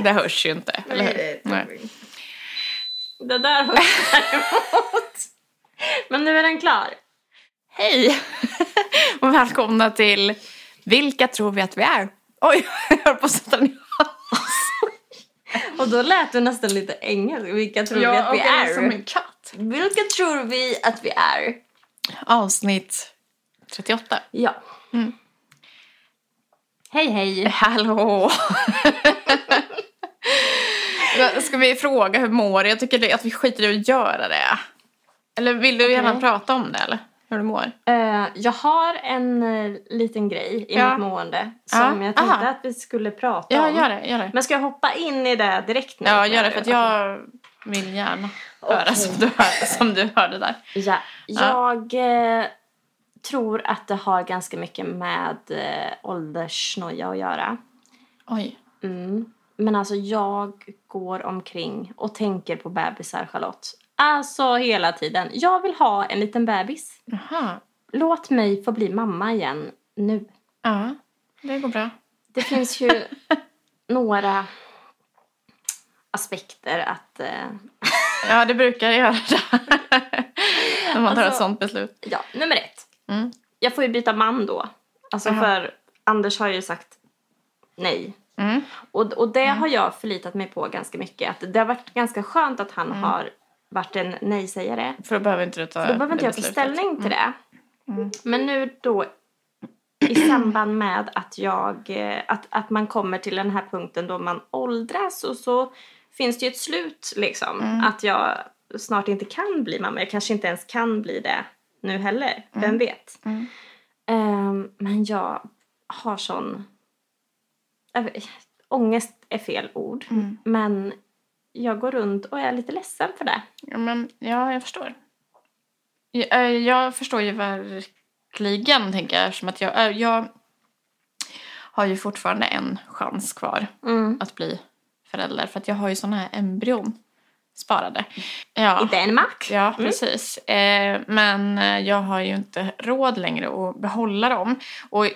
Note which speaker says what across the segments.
Speaker 1: Det hörs ju inte, eller hur?
Speaker 2: det,
Speaker 1: Nej.
Speaker 2: det där hörs däremot. Men nu är den klar.
Speaker 1: Hej! Och välkomna till Vilka tror vi att vi är? Oj, jag höll på att sätta den i
Speaker 2: Och då lät du nästan lite engelsk. Vilka tror vi att vi är?
Speaker 1: katt.
Speaker 2: Vilka tror vi att vi är?
Speaker 1: Avsnitt 38.
Speaker 2: Ja.
Speaker 1: Mm.
Speaker 2: Hej hej.
Speaker 1: Hallå! Ska vi fråga hur mår du? Jag tycker det- att vi skiter i att göra det. Eller vill du gärna
Speaker 2: Okej.
Speaker 1: prata om det eller? Hur du mår?
Speaker 2: Eh, jag har en eh, liten grej i
Speaker 1: Ja.
Speaker 2: mitt mående
Speaker 1: Ja.
Speaker 2: som jag tänkte
Speaker 1: Aha.
Speaker 2: att vi skulle prata
Speaker 1: Ja,
Speaker 2: om.
Speaker 1: gör det. Gör det.
Speaker 2: Men ska jag hoppa in i det direkt nu?
Speaker 1: Ja, gör det för att jag vill gärna höra
Speaker 2: Okej.
Speaker 1: som, du hör, som du hörde där.
Speaker 2: Ja,
Speaker 1: Ja.
Speaker 2: jag eh, tror att det har ganska mycket med eh, åldersnoja att göra.
Speaker 1: Oj.
Speaker 2: Mm. Men alltså jag går omkring och tänker på bebisar, Charlotte. Alltså hela tiden. Jag vill ha en liten bebis.
Speaker 1: Jaha.
Speaker 2: Låt mig få bli mamma igen nu.
Speaker 1: Ja, det går bra.
Speaker 2: Det finns ju några aspekter att... Eh,
Speaker 1: Ja, det brukar jag göra När man tar ett
Speaker 2: Alltså-
Speaker 1: sånt beslut.
Speaker 2: ja, nummer ett.
Speaker 1: Mm.
Speaker 2: Jag får ju byta man då. Alltså
Speaker 1: Jaha.
Speaker 2: för Anders har ju sagt nej.
Speaker 1: Mm.
Speaker 2: Och, och det har jag förlitat mig på ganska mycket. Att det har varit ganska skönt att han
Speaker 1: Mm.
Speaker 2: har varit en nej-sägare.
Speaker 1: För då behöver inte du ta
Speaker 2: Då behöver inte
Speaker 1: det
Speaker 2: jag ta
Speaker 1: Äh, beslutet.
Speaker 2: ställning till det.
Speaker 1: Mm.
Speaker 2: Men nu då i samband med att, jag, eh, att, att man kommer till den här punkten då man åldras och så finns det ju ett slut liksom.
Speaker 1: Mm.
Speaker 2: Att jag snart inte kan bli mamma. Jag kanske inte ens kan bli det nu heller. Vem vet?
Speaker 1: Mm.
Speaker 2: Ehm, men jag har sån... jag vet- Ångest är fel ord.
Speaker 1: Mm.
Speaker 2: Men jag går runt och är lite ledsen för det.
Speaker 1: Ja, men, ja, jag förstår. Jag, eh, jag förstår ju verkligen, tänker jag. Eftersom att jag, eh, jag har ju fortfarande en chans kvar att bli förälder. För att jag har ju såna här embryon sparade. Ja.
Speaker 2: I Danmark.
Speaker 1: Ja, precis. Eh, men eh, jag har ju inte råd längre att behålla dem. Och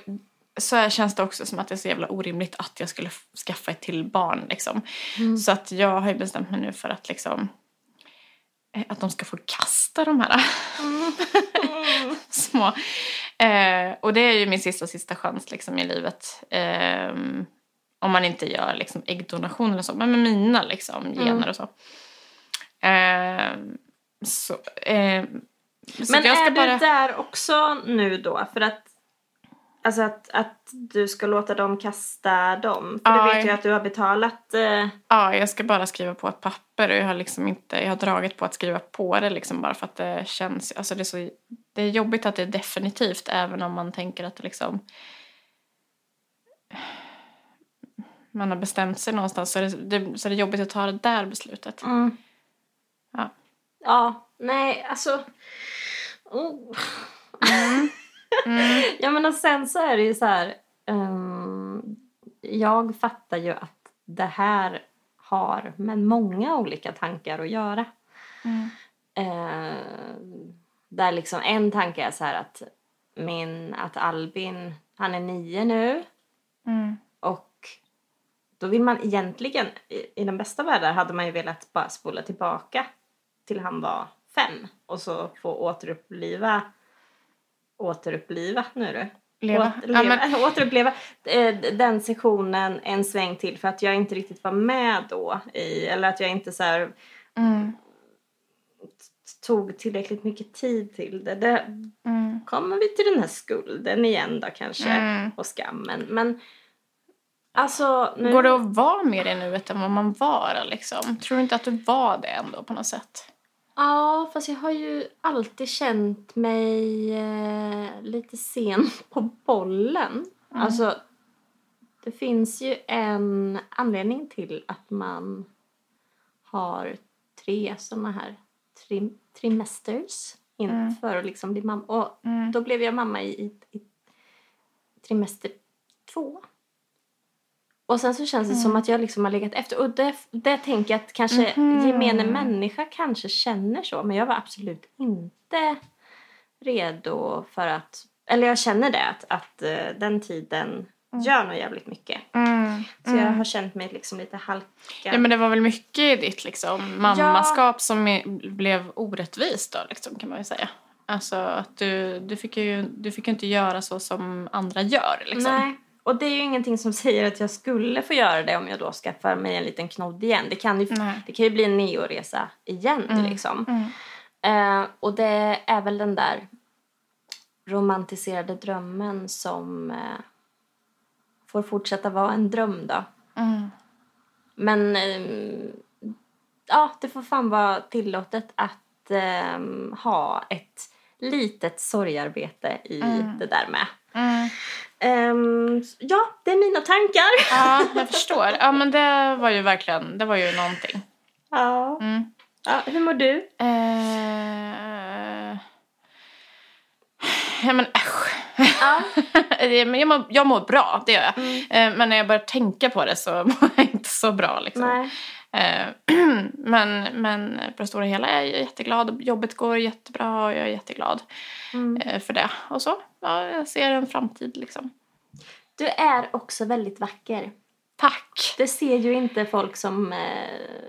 Speaker 1: så här känns det också som att det är så jävla orimligt att jag skulle f- skaffa ett till barn. Liksom. Så att jag har ju bestämt mig nu för att liksom eh, att de ska få kasta de här Mm. små. Eh, och det är ju min sista sista chans liksom, i livet. Ehm, om man inte gör liksom, äggdonation eller så. Men med mina liksom,
Speaker 2: Mm.
Speaker 1: gener och så. Ehm, så, ehm, så
Speaker 2: Men
Speaker 1: att jag ska
Speaker 2: är
Speaker 1: bara...
Speaker 2: du där också nu då? För att, alltså att, att du ska låta dem kasta dem? För
Speaker 1: Ja,
Speaker 2: du vet ju
Speaker 1: jag-
Speaker 2: att du har betalat... Eh,
Speaker 1: Ja, jag ska bara skriva på ett papper och jag har liksom inte, jag har dragit på att skriva på det liksom bara för att det känns, alltså det är så, det är jobbigt att det är definitivt även om man tänker att det liksom man har bestämt sig någonstans så är det, det, så är det jobbigt att ta det där beslutet. Mm. Ja.
Speaker 2: ja. Nej, alltså... Oh.
Speaker 1: Mm.
Speaker 2: Ja, men och sen så är det ju så här... ehm, jag fattar ju att det här har med många olika tankar att göra.
Speaker 1: Mm.
Speaker 2: Eh, där liksom en tanke är så här att, min, att Albin, han är nio nu.
Speaker 1: Mm.
Speaker 2: Och då vill man egentligen, i, i den bästa världen hade man ju velat bara spola tillbaka till han var fem och så få återuppliva, återuppliva nu du.
Speaker 1: Leva.
Speaker 2: Åter,
Speaker 1: Ja, men,
Speaker 2: Återuppleva eh, d- den sektionen en sväng till för att jag inte riktigt var med då i, eller att jag inte så här
Speaker 1: mm.
Speaker 2: tog tillräckligt mycket tid till det. det
Speaker 1: Mm.
Speaker 2: kommer vi till den här skulden igen då kanske
Speaker 1: Mm.
Speaker 2: och skammen. Men alltså nu...
Speaker 1: Går det att vara mer i nuet än vad man var liksom? Tror du inte att du var det ändå på något sätt?
Speaker 2: Ja, fast jag har ju alltid känt mig eh, lite sen på bollen. Alltså, det finns ju en anledning till att man har tre såna här trim- trimesters inför att liksom bli mamma. Och
Speaker 1: Mm.
Speaker 2: då blev jag mamma i, i, i trimester två. Och sen så känns det som
Speaker 1: Mm.
Speaker 2: att jag liksom har legat efter. Och det, det tänker jag att kanske
Speaker 1: Mhm.
Speaker 2: gemene människa kanske känner så. Men jag var absolut inte redo för att... Eller jag känner det, att, att eh, den tiden gör nog jävligt mycket.
Speaker 1: Mm.
Speaker 2: Så jag har känt mig liksom lite halkad.
Speaker 1: Ja, men det var väl mycket i ditt liksom, mammaskap som i- blev orättvist då, liksom, kan man ju säga. Alltså att du, du fick ju du fick ju inte göra så som andra gör liksom.
Speaker 2: Nej. Och det är ju ingenting som säger att jag skulle få göra det om jag då skaffar mig en liten knodd igen. Det kan ju,
Speaker 1: Nej.
Speaker 2: det kan ju bli en neoresa igen
Speaker 1: Mm.
Speaker 2: liksom.
Speaker 1: Mm.
Speaker 2: Eh, och det är väl den där romantiserade drömmen som eh, får fortsätta vara en dröm då.
Speaker 1: Mm.
Speaker 2: Men ehm, ja, det får fan vara tillåtet att ehm, ha ett litet sorgarbete i
Speaker 1: Mm.
Speaker 2: det där med.
Speaker 1: Mm.
Speaker 2: Ehm, s- ja, det är mina tankar.
Speaker 1: Ja, jag förstår. Ja, men det var ju verkligen, det var ju någonting.
Speaker 2: Ja.
Speaker 1: Mm.
Speaker 2: ja hur mår du?
Speaker 1: Eh, Ja men äsch.
Speaker 2: Ja.
Speaker 1: Eh, men jag, mår, jag mår bra, det gör jag.
Speaker 2: Mm.
Speaker 1: Eh, Men när jag börjar tänka på det så mår jag inte så bra. Liksom.
Speaker 2: Nej.
Speaker 1: Eh, Men, men på det stora hela är jag jätteglad. Jobbet går jättebra och jag är jätteglad
Speaker 2: Mm.
Speaker 1: eh, för det. Och så, ja, jag ser en framtid liksom.
Speaker 2: Du är också väldigt vacker.
Speaker 1: Tack!
Speaker 2: Det ser ju inte folk som eh,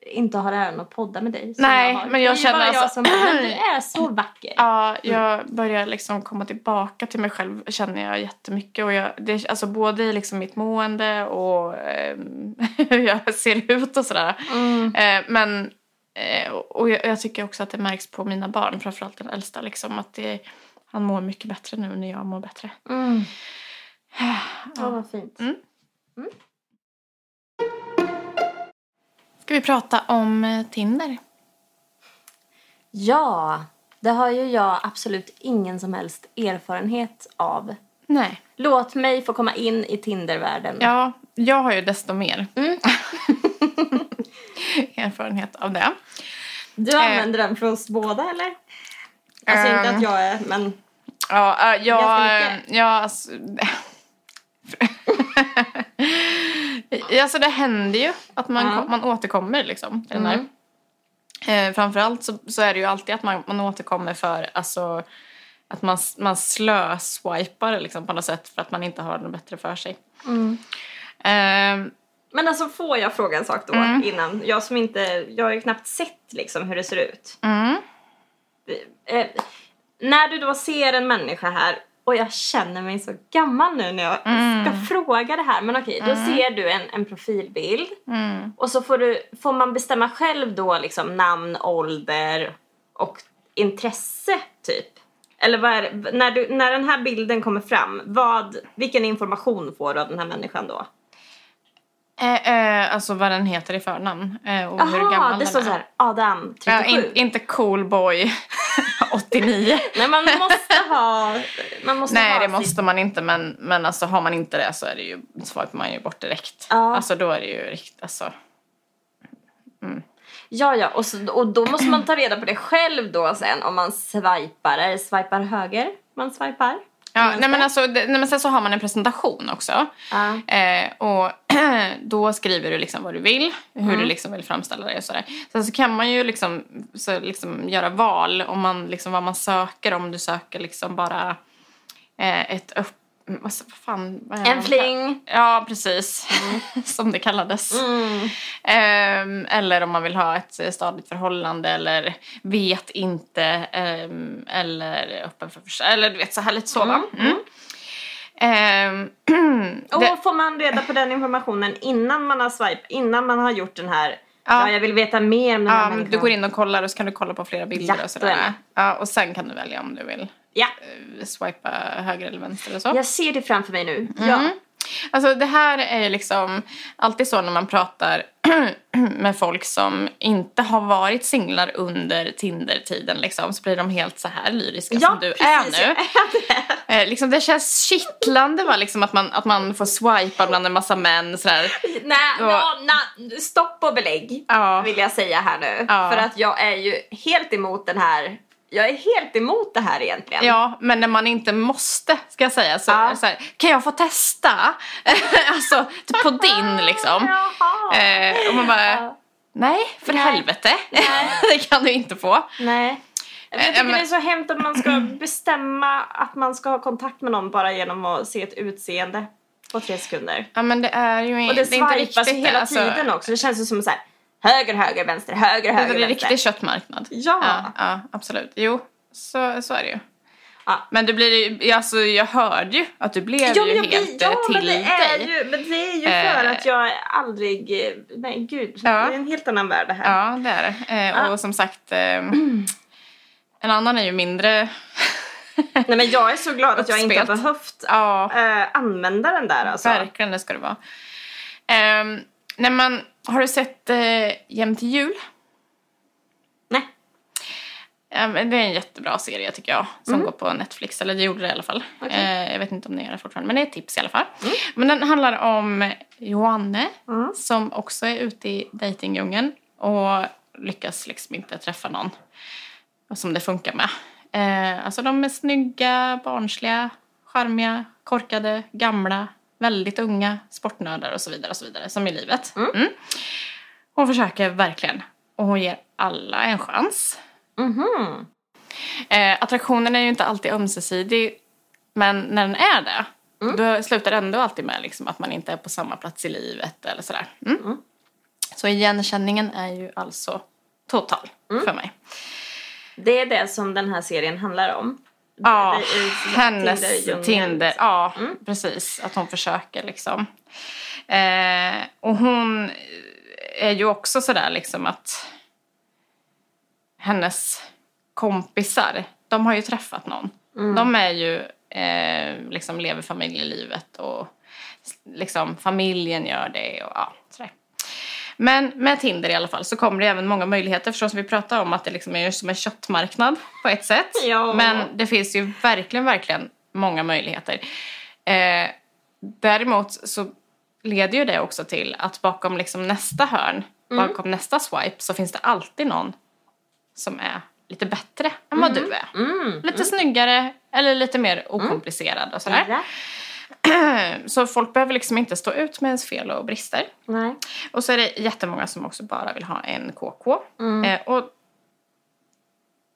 Speaker 2: inte har äran att podda med dig. som
Speaker 1: Nej,
Speaker 2: har.
Speaker 1: men jag
Speaker 2: det är
Speaker 1: känner
Speaker 2: bara jag
Speaker 1: alltså-
Speaker 2: som, men du är så vacker.
Speaker 1: Ja, jag börjar liksom komma tillbaka till mig själv känner jag jättemycket. Och jag, det, alltså både i liksom mitt mående och eh, hur jag ser ut och sådär.
Speaker 2: Mm.
Speaker 1: Eh, men, eh, och jag, jag tycker också att det märks på mina barn, framförallt den äldsta. Liksom, att det, han mår mycket bättre nu när jag mår bättre.
Speaker 2: Mm. Ja,
Speaker 1: Ja.
Speaker 2: vad fint.
Speaker 1: Mm. Ska vi prata om eh, Tinder?
Speaker 2: Ja, det har ju jag absolut ingen som helst erfarenhet av.
Speaker 1: Nej.
Speaker 2: Låt mig få komma in i Tindervärlden.
Speaker 1: Ja, jag har ju desto mer
Speaker 2: Mm.
Speaker 1: erfarenhet av det.
Speaker 2: Du
Speaker 1: eh.
Speaker 2: använder den för oss båda, eller? Alltså inte
Speaker 1: Ehm.
Speaker 2: att jag är, men...
Speaker 1: Ja, äh, jag...
Speaker 2: Ganska mycket.
Speaker 1: Ja, alltså, alltså det händer ju att man,
Speaker 2: Ja.
Speaker 1: kom- man återkommer liksom. till Den där.
Speaker 2: Mm.
Speaker 1: Eh, framförallt så, så är det ju alltid att man, man återkommer för alltså, att man, s- man slöswipar liksom, på något sätt för att man inte har något bättre för sig.
Speaker 2: Mm.
Speaker 1: Eh,
Speaker 2: Men alltså får jag fråga en sak då
Speaker 1: Mm.
Speaker 2: innan? Jag som inte, jag har ju knappt sett liksom hur det ser ut.
Speaker 1: mm.
Speaker 2: Eh, när du då ser en människa här och jag känner mig så gammal nu när jag
Speaker 1: Mm.
Speaker 2: ska fråga det här. Men okej, då ser du en, en profilbild.
Speaker 1: Mm.
Speaker 2: Och så får, du, får man bestämma själv då liksom namn, ålder och intresse typ. Eller vad är, det- när, du, när den här bilden kommer fram, vad, vilken information får du av den här människan då?
Speaker 1: Eh, eh, alltså vad den heter i förnamn eh, och hur
Speaker 2: Jaha,
Speaker 1: gammal
Speaker 2: det
Speaker 1: den
Speaker 2: står
Speaker 1: är.
Speaker 2: så här Adam, 37.
Speaker 1: Ja, in, inte cool boy 89.
Speaker 2: Nej, man måste ha... Man måste
Speaker 1: Nej,
Speaker 2: ha
Speaker 1: det
Speaker 2: sitt-
Speaker 1: måste man inte. Men, men alltså, har man inte det så är det ju, swipar man ju bort direkt.
Speaker 2: Ja.
Speaker 1: Alltså, då är det ju riktigt... Alltså.
Speaker 2: Ja, ja, och, så, och då måste man ta reda på det själv då sen om man swipar. Är det swipar höger man swipar?
Speaker 1: Ja,
Speaker 2: Men
Speaker 1: nej, men
Speaker 2: så-
Speaker 1: alltså, det, nej, men sen så har man en presentation också.
Speaker 2: Ja.
Speaker 1: Eh, och då skriver du liksom vad du vill, hur
Speaker 2: Mm.
Speaker 1: du liksom vill framställa dig och sådär. Sen så kan man ju liksom, så liksom göra val om man, liksom, vad man söker. Om du söker liksom bara eh, ett upp... Alltså, vad fan, vad är det
Speaker 2: En
Speaker 1: man-
Speaker 2: fling.
Speaker 1: Ja, precis. Som det kallades.
Speaker 2: Mm.
Speaker 1: Ehm, eller om man vill ha ett eh, stadigt förhållande eller vet inte ehm, eller öppen för förs- Eller du vet så här lite så va? Mm. Ehm,
Speaker 2: Och
Speaker 1: det,
Speaker 2: får man reda på den informationen innan man har swipe, innan man har gjort den här...
Speaker 1: Ja.
Speaker 2: Ja, jag vill veta mer om den här
Speaker 1: ja, men
Speaker 2: människan.
Speaker 1: du går in och kollar och så kan du kolla på flera bilder
Speaker 2: Ja,
Speaker 1: och
Speaker 2: då är
Speaker 1: sådär.
Speaker 2: det.
Speaker 1: Ja, och sen kan du välja om du vill
Speaker 2: Ja,
Speaker 1: eh, swipa höger eller vänster eller så.
Speaker 2: jag ser det framför mig
Speaker 1: Mm.
Speaker 2: nu. Ja.
Speaker 1: Alltså det här är ju liksom alltid så när man pratar med folk som inte har varit singlar under Tinder-tiden liksom, så blir de helt så här lyriska
Speaker 2: Ja,
Speaker 1: som du
Speaker 2: precis,
Speaker 1: är
Speaker 2: jag
Speaker 1: nu. Eh, liksom, det känns kittlande va? Liksom, att, man, att man får swipa bland en massa män sådär.
Speaker 2: Nej,
Speaker 1: Då-
Speaker 2: na, na, stopp och belägg
Speaker 1: Ja.
Speaker 2: vill jag säga här nu.
Speaker 1: Ja.
Speaker 2: För att jag är ju helt emot den här... Jag är helt emot det här egentligen.
Speaker 1: Ja, men när man inte måste, ska jag säga, så,
Speaker 2: Ja.
Speaker 1: så här, kan jag få testa? alltså, typ på din liksom.
Speaker 2: Jaha.
Speaker 1: Eh, och man bara,
Speaker 2: Ja.
Speaker 1: nej, för
Speaker 2: Nej.
Speaker 1: helvete.
Speaker 2: Nej.
Speaker 1: det kan du inte få.
Speaker 2: Nej. Jag tycker
Speaker 1: Eh, men-
Speaker 2: det är så hemskt att man ska bestämma att man ska ha kontakt med någon bara genom att se ett utseende. på tre sekunder.
Speaker 1: Ja men det är ju
Speaker 2: Och
Speaker 1: är
Speaker 2: det,
Speaker 1: inte
Speaker 2: svarpas ju hela
Speaker 1: alltså.
Speaker 2: tiden också. Det känns ju som så här, höger, höger, vänster, höger, höger,
Speaker 1: Det är en
Speaker 2: vänster.
Speaker 1: riktig köttmarknad.
Speaker 2: Ja.
Speaker 1: Ja, ja, absolut. Jo, så, så är det ju.
Speaker 2: Ja.
Speaker 1: Men du blir ju, alltså, jag hörde ju att du blev
Speaker 2: Ja, men
Speaker 1: ju
Speaker 2: jag
Speaker 1: helt
Speaker 2: blir,
Speaker 1: eh,
Speaker 2: ja,
Speaker 1: till
Speaker 2: men det är
Speaker 1: dig.
Speaker 2: ju, men det är ju
Speaker 1: Eh.
Speaker 2: för att jag aldrig, eh, nej gud,
Speaker 1: Ja.
Speaker 2: det är en helt annan värld det här.
Speaker 1: Ja, det är det. Eh,
Speaker 2: Ja.
Speaker 1: Och som sagt, eh, en annan är ju mindre...
Speaker 2: Nej men jag är så glad att jag inte har
Speaker 1: Uppspelt.
Speaker 2: behövt
Speaker 1: ja,
Speaker 2: eh, använda den där alltså.
Speaker 1: verkligen det ska det vara. Eh, när man, har du sett eh, Jämt till jul?
Speaker 2: Nej.
Speaker 1: Ja, men Det är en jättebra serie tycker jag. Som går på Netflix, eller det gjorde det i alla fall.
Speaker 2: Mm. Okej.
Speaker 1: Eh, jag vet inte om det gör det fortfarande, men det är ett tips i alla fall.
Speaker 2: Mm.
Speaker 1: Men den handlar om Joanne
Speaker 2: Mm.
Speaker 1: som också är ute i dejtingdjungeln och lyckas liksom inte träffa någon som det funkar med. Eh, alltså de är snygga, barnsliga, charmiga, korkade, gamla, väldigt unga, sportnördar och så vidare, och så vidare som i livet.
Speaker 2: Mm.
Speaker 1: Hon försöker verkligen och hon ger alla en chans.
Speaker 2: Mhm.
Speaker 1: Eh, attraktionen är ju inte alltid ömsesidig, men när den är det
Speaker 2: Mm.
Speaker 1: då slutar det ändå alltid med liksom, att man inte är på samma plats i livet eller sådär. Mm.
Speaker 2: Mm.
Speaker 1: Så igenkänningen är ju alltså total
Speaker 2: Mm.
Speaker 1: för mig.
Speaker 2: Det är det som den här serien handlar om.
Speaker 1: Ja,
Speaker 2: Det är- liksom Mm.
Speaker 1: hennes
Speaker 2: Tinder-djungeln.
Speaker 1: Tinder. ja, precis. Att hon försöker liksom. Eh, och hon är ju också sådär liksom att hennes kompisar, de har ju träffat någon. De är ju, eh, liksom lever familjelivet och s- liksom familjen gör det och ja, sådär. Men med Tinder i alla fall så kommer det även många möjligheter förstås. Vi pratar om att det liksom är som en köttmarknad på ett sätt.
Speaker 2: Ja.
Speaker 1: Men det finns ju verkligen, verkligen många möjligheter. Eh, däremot så leder ju det också till att bakom liksom nästa hörn,
Speaker 2: Mm.
Speaker 1: bakom nästa swipe så finns det alltid någon som är lite bättre än vad du är.
Speaker 2: Mm.
Speaker 1: Lite snyggare eller lite mer okomplicerad och sådär. Eh,
Speaker 2: Ja.
Speaker 1: Så folk behöver liksom inte stå ut med ens fel och brister.
Speaker 2: Nej.
Speaker 1: Och så är det jättemånga som också bara vill ha en KK.
Speaker 2: Mm.
Speaker 1: Eh, och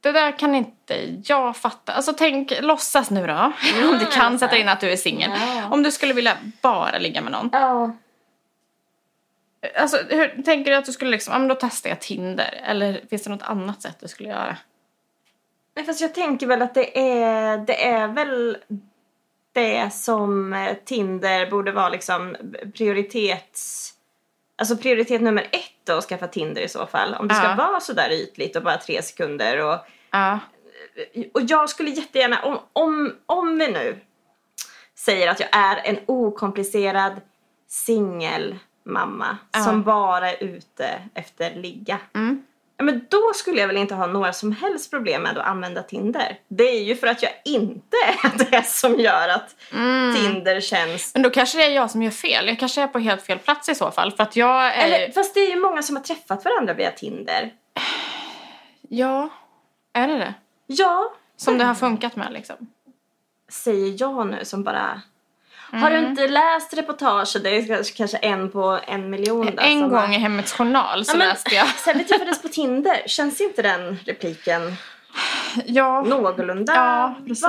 Speaker 1: det där kan inte jag fatta. Alltså tänk, låtsas nu då. om du kan sätta in att du är singel.
Speaker 2: Ja.
Speaker 1: Om du skulle vilja bara ligga med någon.
Speaker 2: Ja.
Speaker 1: Alltså, hur, tänker du att du skulle liksom, ja men då testar jag Tinder. Eller finns det något annat sätt du skulle göra?
Speaker 2: Nej, fast jag tänker väl att det är, det är väl det som eh, Tinder borde vara liksom prioritets... Alltså prioritet nummer ett då att skaffa Tinder i så fall. Om det ska
Speaker 1: Ja.
Speaker 2: vara sådär ytligt och bara tre sekunder och...
Speaker 1: Ja.
Speaker 2: Och jag skulle jättegärna, om, om, om vi nu säger att jag är en okomplicerad singelmamma
Speaker 1: Ja.
Speaker 2: som bara är ute efter ligga.
Speaker 1: Mm.
Speaker 2: Ja, men då skulle jag väl inte ha några som helst problem med att använda Tinder. Det är ju för att jag inte är det som gör att
Speaker 1: Mm.
Speaker 2: Tinder känns...
Speaker 1: Men då kanske det är jag som gör fel. Jag kanske är på helt fel plats i så fall. För att jag är
Speaker 2: Eller, fast det är ju många som har träffat varandra via Tinder.
Speaker 1: Ja, är det det?
Speaker 2: Ja,
Speaker 1: Som det har funkat med liksom.
Speaker 2: säger jag nu som bara... Har
Speaker 1: Mm.
Speaker 2: du inte läst reportaget? Det är kanske- kanske en på en miljon. där
Speaker 1: En
Speaker 2: Mm. som
Speaker 1: gång
Speaker 2: har-
Speaker 1: i Hemmets Journal så
Speaker 2: Ja, men,
Speaker 1: läste jag.
Speaker 2: Sen vi träffades på Tinder, känns inte den repliken
Speaker 1: Ja.
Speaker 2: någorlunda
Speaker 1: Ja, precis.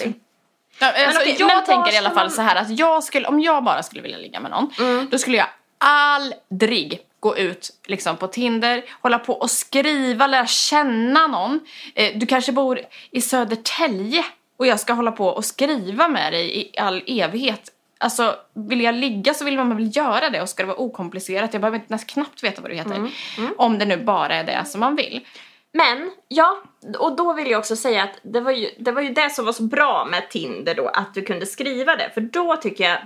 Speaker 2: vanlig?
Speaker 1: Ja, alltså,
Speaker 2: okej, men
Speaker 1: jag
Speaker 2: vad
Speaker 1: tänker i alla
Speaker 2: ska
Speaker 1: fall
Speaker 2: man-
Speaker 1: så här att jag skulle, om jag bara skulle vilja ligga med någon då skulle jag aldrig gå ut liksom, på Tinder, hålla på och skriva, lära känna någon. Eh, du kanske bor i Södertälje och jag ska hålla på och skriva med dig i all evighet. Alltså, vill jag ligga så vill man väl göra det och ska det vara okomplicerat. Jag behöver inte nästan knappt veta vad du heter. Om det nu bara är det som man vill.
Speaker 2: Men, ja, och då vill jag också säga att det var, ju, det var ju det som var så bra med Tinder då, att du kunde skriva det. För då tycker jag,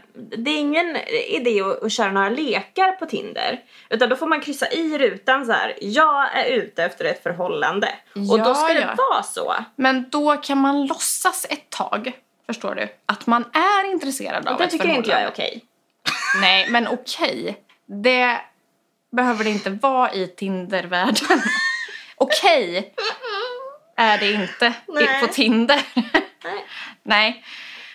Speaker 2: det är ingen idé att, att köra några lekar på Tinder. Utan då får man kryssa i rutan så här, jag är ute efter ett förhållande. och då
Speaker 1: Ja,
Speaker 2: ska det
Speaker 1: ja.
Speaker 2: vara så.
Speaker 1: Men då kan man låtsas ett tag, förstår du, att man är intresserad av
Speaker 2: Det
Speaker 1: ett
Speaker 2: tycker inte jag är
Speaker 1: förhållande.
Speaker 2: okej.
Speaker 1: Nej, men okej. Det behöver det inte vara i Tindervärlden. okej är det inte
Speaker 2: Nej.
Speaker 1: på Tinder.
Speaker 2: Nej.
Speaker 1: Nej.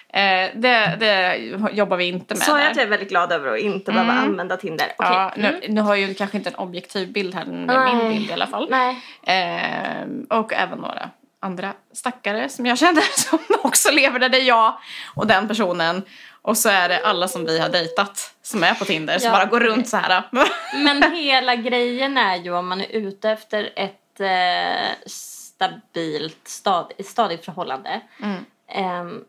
Speaker 1: Eh, det, det jobbar vi inte med
Speaker 2: Sa jag
Speaker 1: där.
Speaker 2: att jag är väldigt glad över att inte behöva använda Tinder? Okej.
Speaker 1: Mm.
Speaker 2: Mm.
Speaker 1: Ja, nu, nu har jag ju kanske inte en objektiv bild här, men det är
Speaker 2: Nej.
Speaker 1: min bild i alla fall.
Speaker 2: Nej.
Speaker 1: Eh, Ehm, och även några andra stackare som jag känner som också lever där det är jag och den personen. Och så är det alla som vi har dejtat som är på Tinder som
Speaker 2: Ja.
Speaker 1: bara går runt så här.
Speaker 2: Men hela grejen är ju om man är ute efter ett eh, stabilt, stad, ett stadigt förhållande.
Speaker 1: Mm.
Speaker 2: Ehm,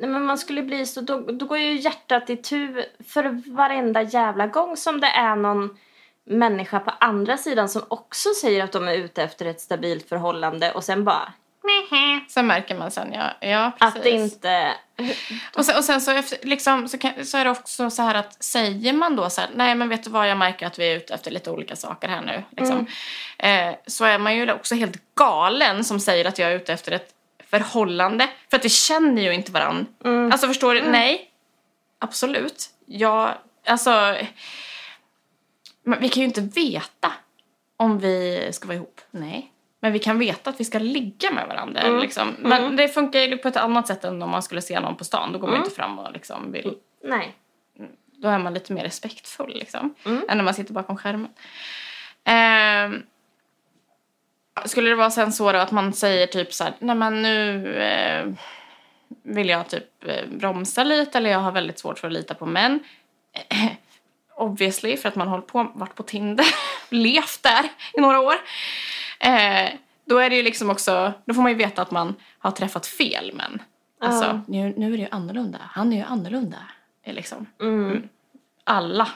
Speaker 2: nej, men man skulle bli så, då, då går ju hjärtat i tu för varenda jävla gång som det är någon människa på andra sidan som också säger att de är ute efter ett stabilt förhållande och sen bara "Nähä."
Speaker 1: Sen märker man sen, ja, ja precis.
Speaker 2: att det inte...
Speaker 1: Och sen, och sen så, efter, liksom, så, kan, så är det också så här att säger man då så här, nej men vet du vad jag märker att vi är ute efter lite olika saker här nu. Liksom.
Speaker 2: Mm.
Speaker 1: Eh, så är man ju också helt galen som säger att jag är ute efter ett förhållande. För att vi känner ju inte varann.
Speaker 2: Mm.
Speaker 1: Alltså förstår du? Nej. Absolut. Jag, alltså. Men vi kan ju inte veta om vi ska vara ihop. Nej. Men vi kan veta att vi ska ligga med varandra.
Speaker 2: Mm.
Speaker 1: Liksom. Men
Speaker 2: Mm.
Speaker 1: det funkar ju på ett annat sätt än om man skulle se någon på stan. Då går man inte fram och liksom vill...
Speaker 2: Nej.
Speaker 1: Då är man lite mer respektfull liksom.
Speaker 2: Mm.
Speaker 1: Än när man sitter bakom skärmen. Ehm, skulle det vara sen så då att man säger typ så här, nej men nu eh, vill jag typ eh, bromsa lite eller jag har väldigt svårt för att lita på män. Obviously, för att man har hållit på, varit på Tinder, levt där i några år. Eh, då är det ju liksom också, då får man ju veta att man har träffat fel män. Alltså,
Speaker 2: Ja.
Speaker 1: nu, nu är det ju annorlunda. Han är ju annorlunda. eh, Liksom.
Speaker 2: Mm.
Speaker 1: Alla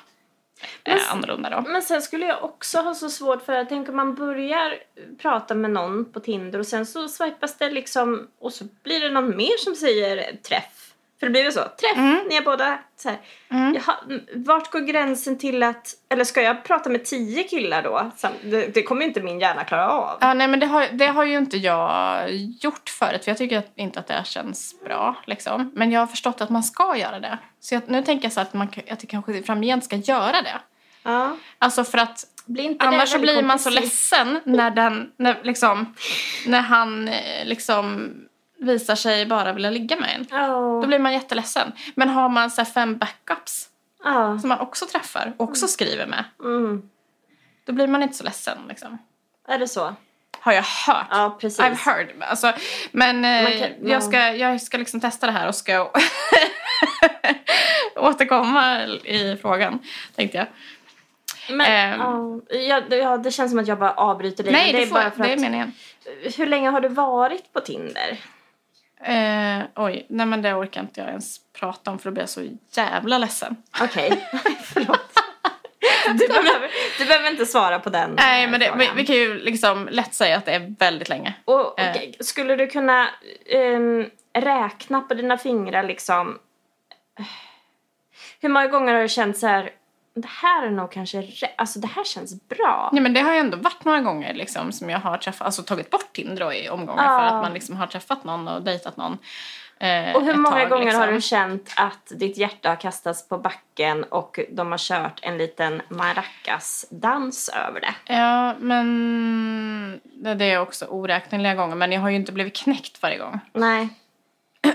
Speaker 2: Men
Speaker 1: är
Speaker 2: s-
Speaker 1: annorlunda då.
Speaker 2: Men sen skulle jag också ha så svårt för jag tänker om man börjar prata med någon på Tinder och sen så swipas det liksom och så blir det någon mer som säger träff. För det blir ju så, träff,
Speaker 1: Mm.
Speaker 2: ni är båda så här.
Speaker 1: Mm.
Speaker 2: Jaha, m- vart går gränsen till att, eller ska jag prata med tio killar då? Sam- Det, det kommer ju inte min hjärna klara av.
Speaker 1: Ja, nej, men det har, det har ju inte jag gjort förut, för jag tycker att, inte att det här känns bra. Liksom. Men jag har förstått att man ska göra det. Så jag, nu tänker jag så att, man, kan- att jag kanske framgent ska göra det.
Speaker 2: Ja.
Speaker 1: Alltså för att
Speaker 2: Blir inte det
Speaker 1: annars så
Speaker 2: väldigt
Speaker 1: blir man så
Speaker 2: komplicerat?
Speaker 1: ledsen när, den, när, liksom, när han eh, liksom, visar sig bara vilja ligga med en.
Speaker 2: Ja.
Speaker 1: Då blir man jätteledsen. Men har man så här fem backups
Speaker 2: Ja.
Speaker 1: som man också träffar och också skriver med,
Speaker 2: Mm.
Speaker 1: då blir man inte så ledsen. Liksom.
Speaker 2: Är det så?
Speaker 1: Har jag hört.
Speaker 2: Ja, precis.
Speaker 1: I've heard. Alltså, men eh,
Speaker 2: Man kan- ja.
Speaker 1: jag, ska, jag ska liksom testa det här och ska återkomma i frågan, tänkte jag.
Speaker 2: Men,
Speaker 1: Ehm.
Speaker 2: ja, ja, det- ja, det känns som att jag bara avbryter dig.
Speaker 1: Nej,
Speaker 2: men
Speaker 1: det,
Speaker 2: är
Speaker 1: får,
Speaker 2: bara för
Speaker 1: det är
Speaker 2: att,
Speaker 1: meningen.
Speaker 2: Hur länge har du varit på Tinder?
Speaker 1: Eh, oj, nej men det orkar inte jag ens prata om för då blir jag så jävla ledsen.
Speaker 2: Okej, förlåt. Du behöver, du behöver inte svara på den
Speaker 1: Nej,
Speaker 2: eh,
Speaker 1: men det, vi,
Speaker 2: frågan.
Speaker 1: vi Eh. kan ju liksom lätt säga att det är väldigt länge.
Speaker 2: Och, och, Skulle du kunna ehm, räkna på dina fingrar liksom? Hur många gånger har du känt så här, det här är nog kanske rä- alltså det här känns bra.
Speaker 1: Nej, men det har ju ändå varit några gånger liksom, som jag har träffat, alltså tagit bort Tinder då i omgångar
Speaker 2: Ja.
Speaker 1: för att man liksom har träffat någon och dejtat någon. eh,
Speaker 2: Och hur
Speaker 1: ett
Speaker 2: många
Speaker 1: tag,
Speaker 2: gånger har
Speaker 1: liksom.
Speaker 2: du känt att ditt hjärta har kastats på backen och de har kört en liten maracas-dans över det?
Speaker 1: Ja, men det det är också oräkneliga gånger. Men jag har ju inte blivit knäckt varje gång.
Speaker 2: Nej.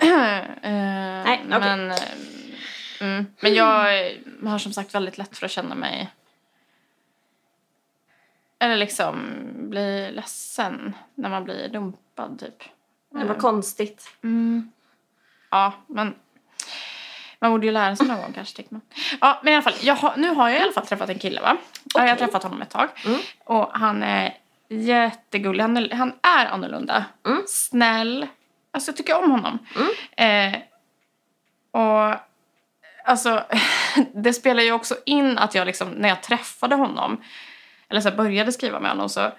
Speaker 1: Nej,
Speaker 2: okej.
Speaker 1: Men, eh, mm, men jag eh, har som sagt väldigt lätt för att känna mig... Eller liksom bli ledsen när man blir dumpad, typ.
Speaker 2: Det var konstigt.
Speaker 1: Mm. Ja, men... Man borde ju lära sig någon gång kanske, tycker man. Ja, men i alla fall, jag har, nu har jag i alla fall träffat en kille, va? Ja, Jag har
Speaker 2: Okej.
Speaker 1: träffat honom ett tag.
Speaker 2: Mm.
Speaker 1: Och han är jättegullig. Han är, han är annorlunda.
Speaker 2: Mm.
Speaker 1: Snäll. Alltså, jag tycker om honom.
Speaker 2: Mm.
Speaker 1: Eh, och alltså, det spelar ju också in att jag liksom, när jag träffade honom, eller så här började skriva med honom, så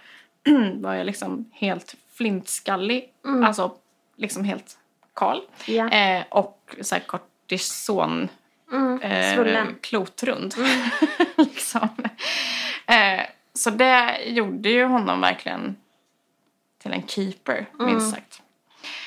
Speaker 1: var jag liksom helt flintskallig.
Speaker 2: Mm.
Speaker 1: Alltså, liksom helt kal.
Speaker 2: Ja.
Speaker 1: Eh, och så här kortison
Speaker 2: Mm.
Speaker 1: eh,
Speaker 2: Svullen. Mm.
Speaker 1: klotrund. liksom. eh, så det gjorde ju honom verkligen till en keeper,
Speaker 2: Mm.
Speaker 1: minst sagt.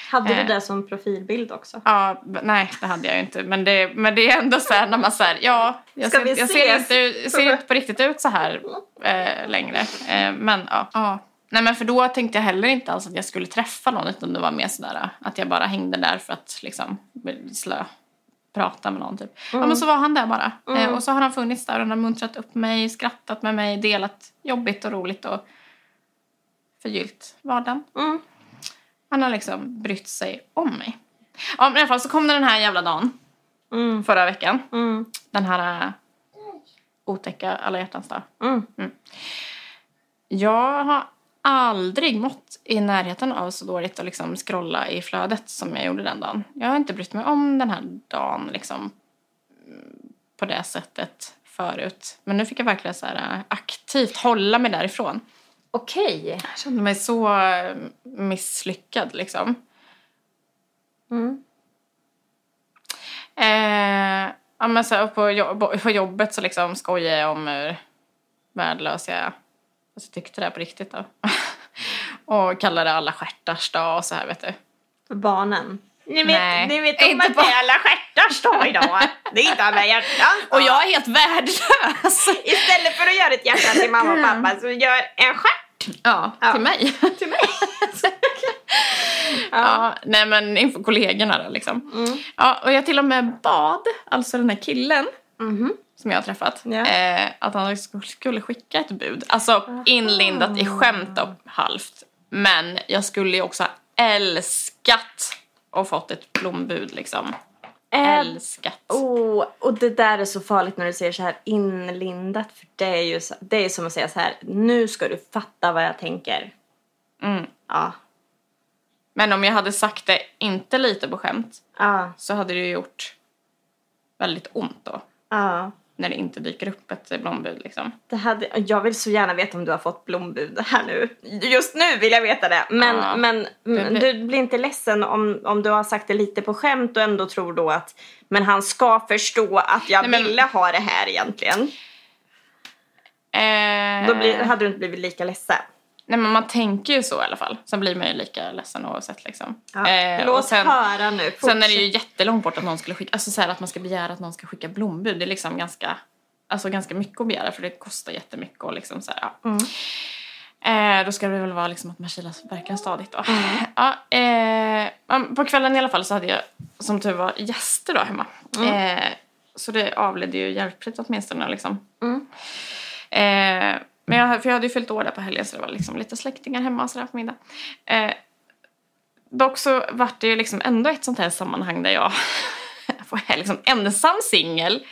Speaker 2: Hade du
Speaker 1: eh.
Speaker 2: det som profilbild också?
Speaker 1: Ja, b- nej, det hade jag ju inte. Men det, men det är ändå så här när man säger ja, jag
Speaker 2: Ska
Speaker 1: ser,
Speaker 2: vi
Speaker 1: inte- jag ser,
Speaker 2: ses?
Speaker 1: inte, jag ser inte på riktigt ut så här eh, längre. Eh, men ja. ja. Nej, men för då tänkte jag heller inte alls att jag skulle träffa någon utan det var mer sådär att jag bara hängde där för att liksom slö prata med någon typ.
Speaker 2: Mm.
Speaker 1: Ja men så var han där bara. Eh, och så har han funnits där och han har muntrat upp mig, skrattat med mig, delat jobbigt och roligt och förgyllt vardagen.
Speaker 2: Mm.
Speaker 1: Han har liksom brytt sig om mig. Ja, men i alla fall så kom det den här jävla dagen
Speaker 2: Mm.
Speaker 1: förra veckan.
Speaker 2: Mm.
Speaker 1: Den här eh, otäcka alla hjärtans dag.
Speaker 2: Mm.
Speaker 1: Jag har aldrig mått i närheten av så dåligt att liksom scrolla i flödet som jag gjorde den dagen. Jag har inte brytt mig om den här dagen liksom, mm, på det sättet förut. Men nu fick jag verkligen så här, eh, aktivt hålla mig därifrån.
Speaker 2: Okej.
Speaker 1: Jag kände mig så eh, misslyckad. Liksom.
Speaker 2: Mm.
Speaker 1: Eh, ja, men så här, på, jobb, på jobbet så liksom skojade jag om hur värdelös jag är. Fast jag tyckte det här på riktigt då. och kallade det alla stjärtars dag och så här vet du.
Speaker 2: För barnen. Ni
Speaker 1: Nej, inte
Speaker 2: det är alla stjärtars dag idag. Det är inte alla hjärtans dag.
Speaker 1: Och jag är helt värdelös!
Speaker 2: Istället för att göra ett hjärta till mamma och
Speaker 1: Mm.
Speaker 2: pappa så gör en stjärt
Speaker 1: Ja,
Speaker 2: Ja.
Speaker 1: till mig.
Speaker 2: till mig. ja.
Speaker 1: ja, nej men inför kollegorna då liksom.
Speaker 2: Mm.
Speaker 1: Ja, och jag till och med bad, alltså den här killen
Speaker 2: Mhm.
Speaker 1: som jag har träffat,
Speaker 2: Ja.
Speaker 1: eh, att han sk- skulle skicka ett bud. Alltså inlindat i skämt och halvt. Men jag skulle ju också ha älskat och fått ett blombud liksom.
Speaker 2: Eh,
Speaker 1: Älskat.
Speaker 2: Oh, och det där är så farligt när du säger så här inlindat. För det är ju så, det är som att säga så här, nu ska du fatta vad jag tänker.
Speaker 1: Mm.
Speaker 2: Ja.
Speaker 1: Men om jag hade sagt det inte lite på skämt
Speaker 2: Ja.
Speaker 1: så hade det ju gjort väldigt ont då.
Speaker 2: Ja.
Speaker 1: När det inte dyker upp ett blombud liksom.
Speaker 2: Det hade, jag vill så gärna veta om du har fått blombud här nu. Just nu vill jag veta det. Men,
Speaker 1: Ja.
Speaker 2: men mm,
Speaker 1: blir-
Speaker 2: du blir inte ledsen om, om du har sagt det lite på skämt och ändå tror då att men han ska förstå att jag
Speaker 1: Nej, men-
Speaker 2: ville ha det här egentligen.
Speaker 1: Eh,
Speaker 2: Då blir, hade du inte blivit lika ledsen.
Speaker 1: Nej men man tänker ju så i alla fall. Sen blir man ju lika ledsen oavsett liksom.
Speaker 2: Ja.
Speaker 1: Eh,
Speaker 2: Låt
Speaker 1: och sen-
Speaker 2: höra nu.
Speaker 1: Sen är det ju jättelångt bort att någon skulle skicka, alltså så här att man ska begära att någon ska skicka blombud. Det är liksom ganska, alltså ganska mycket att begära för det kostar jättemycket och liksom så här, ja.
Speaker 2: Mm.
Speaker 1: Eh, då ska det väl vara liksom att man kilas verkligen stadigt då. Ja, eh, men på kvällen i alla fall så hade jag som tur var gäster då hemma. Eh, så det avledde ju hjälpligt åtminstone liksom.
Speaker 2: Mm.
Speaker 1: Eh, men jag, för jag hade ju fyllt år där på helgen så det var liksom lite släktingar hemma och sådär på middag. Eh, dock så vart det ju liksom ändå ett sånt här sammanhang där jag var liksom ensam singel.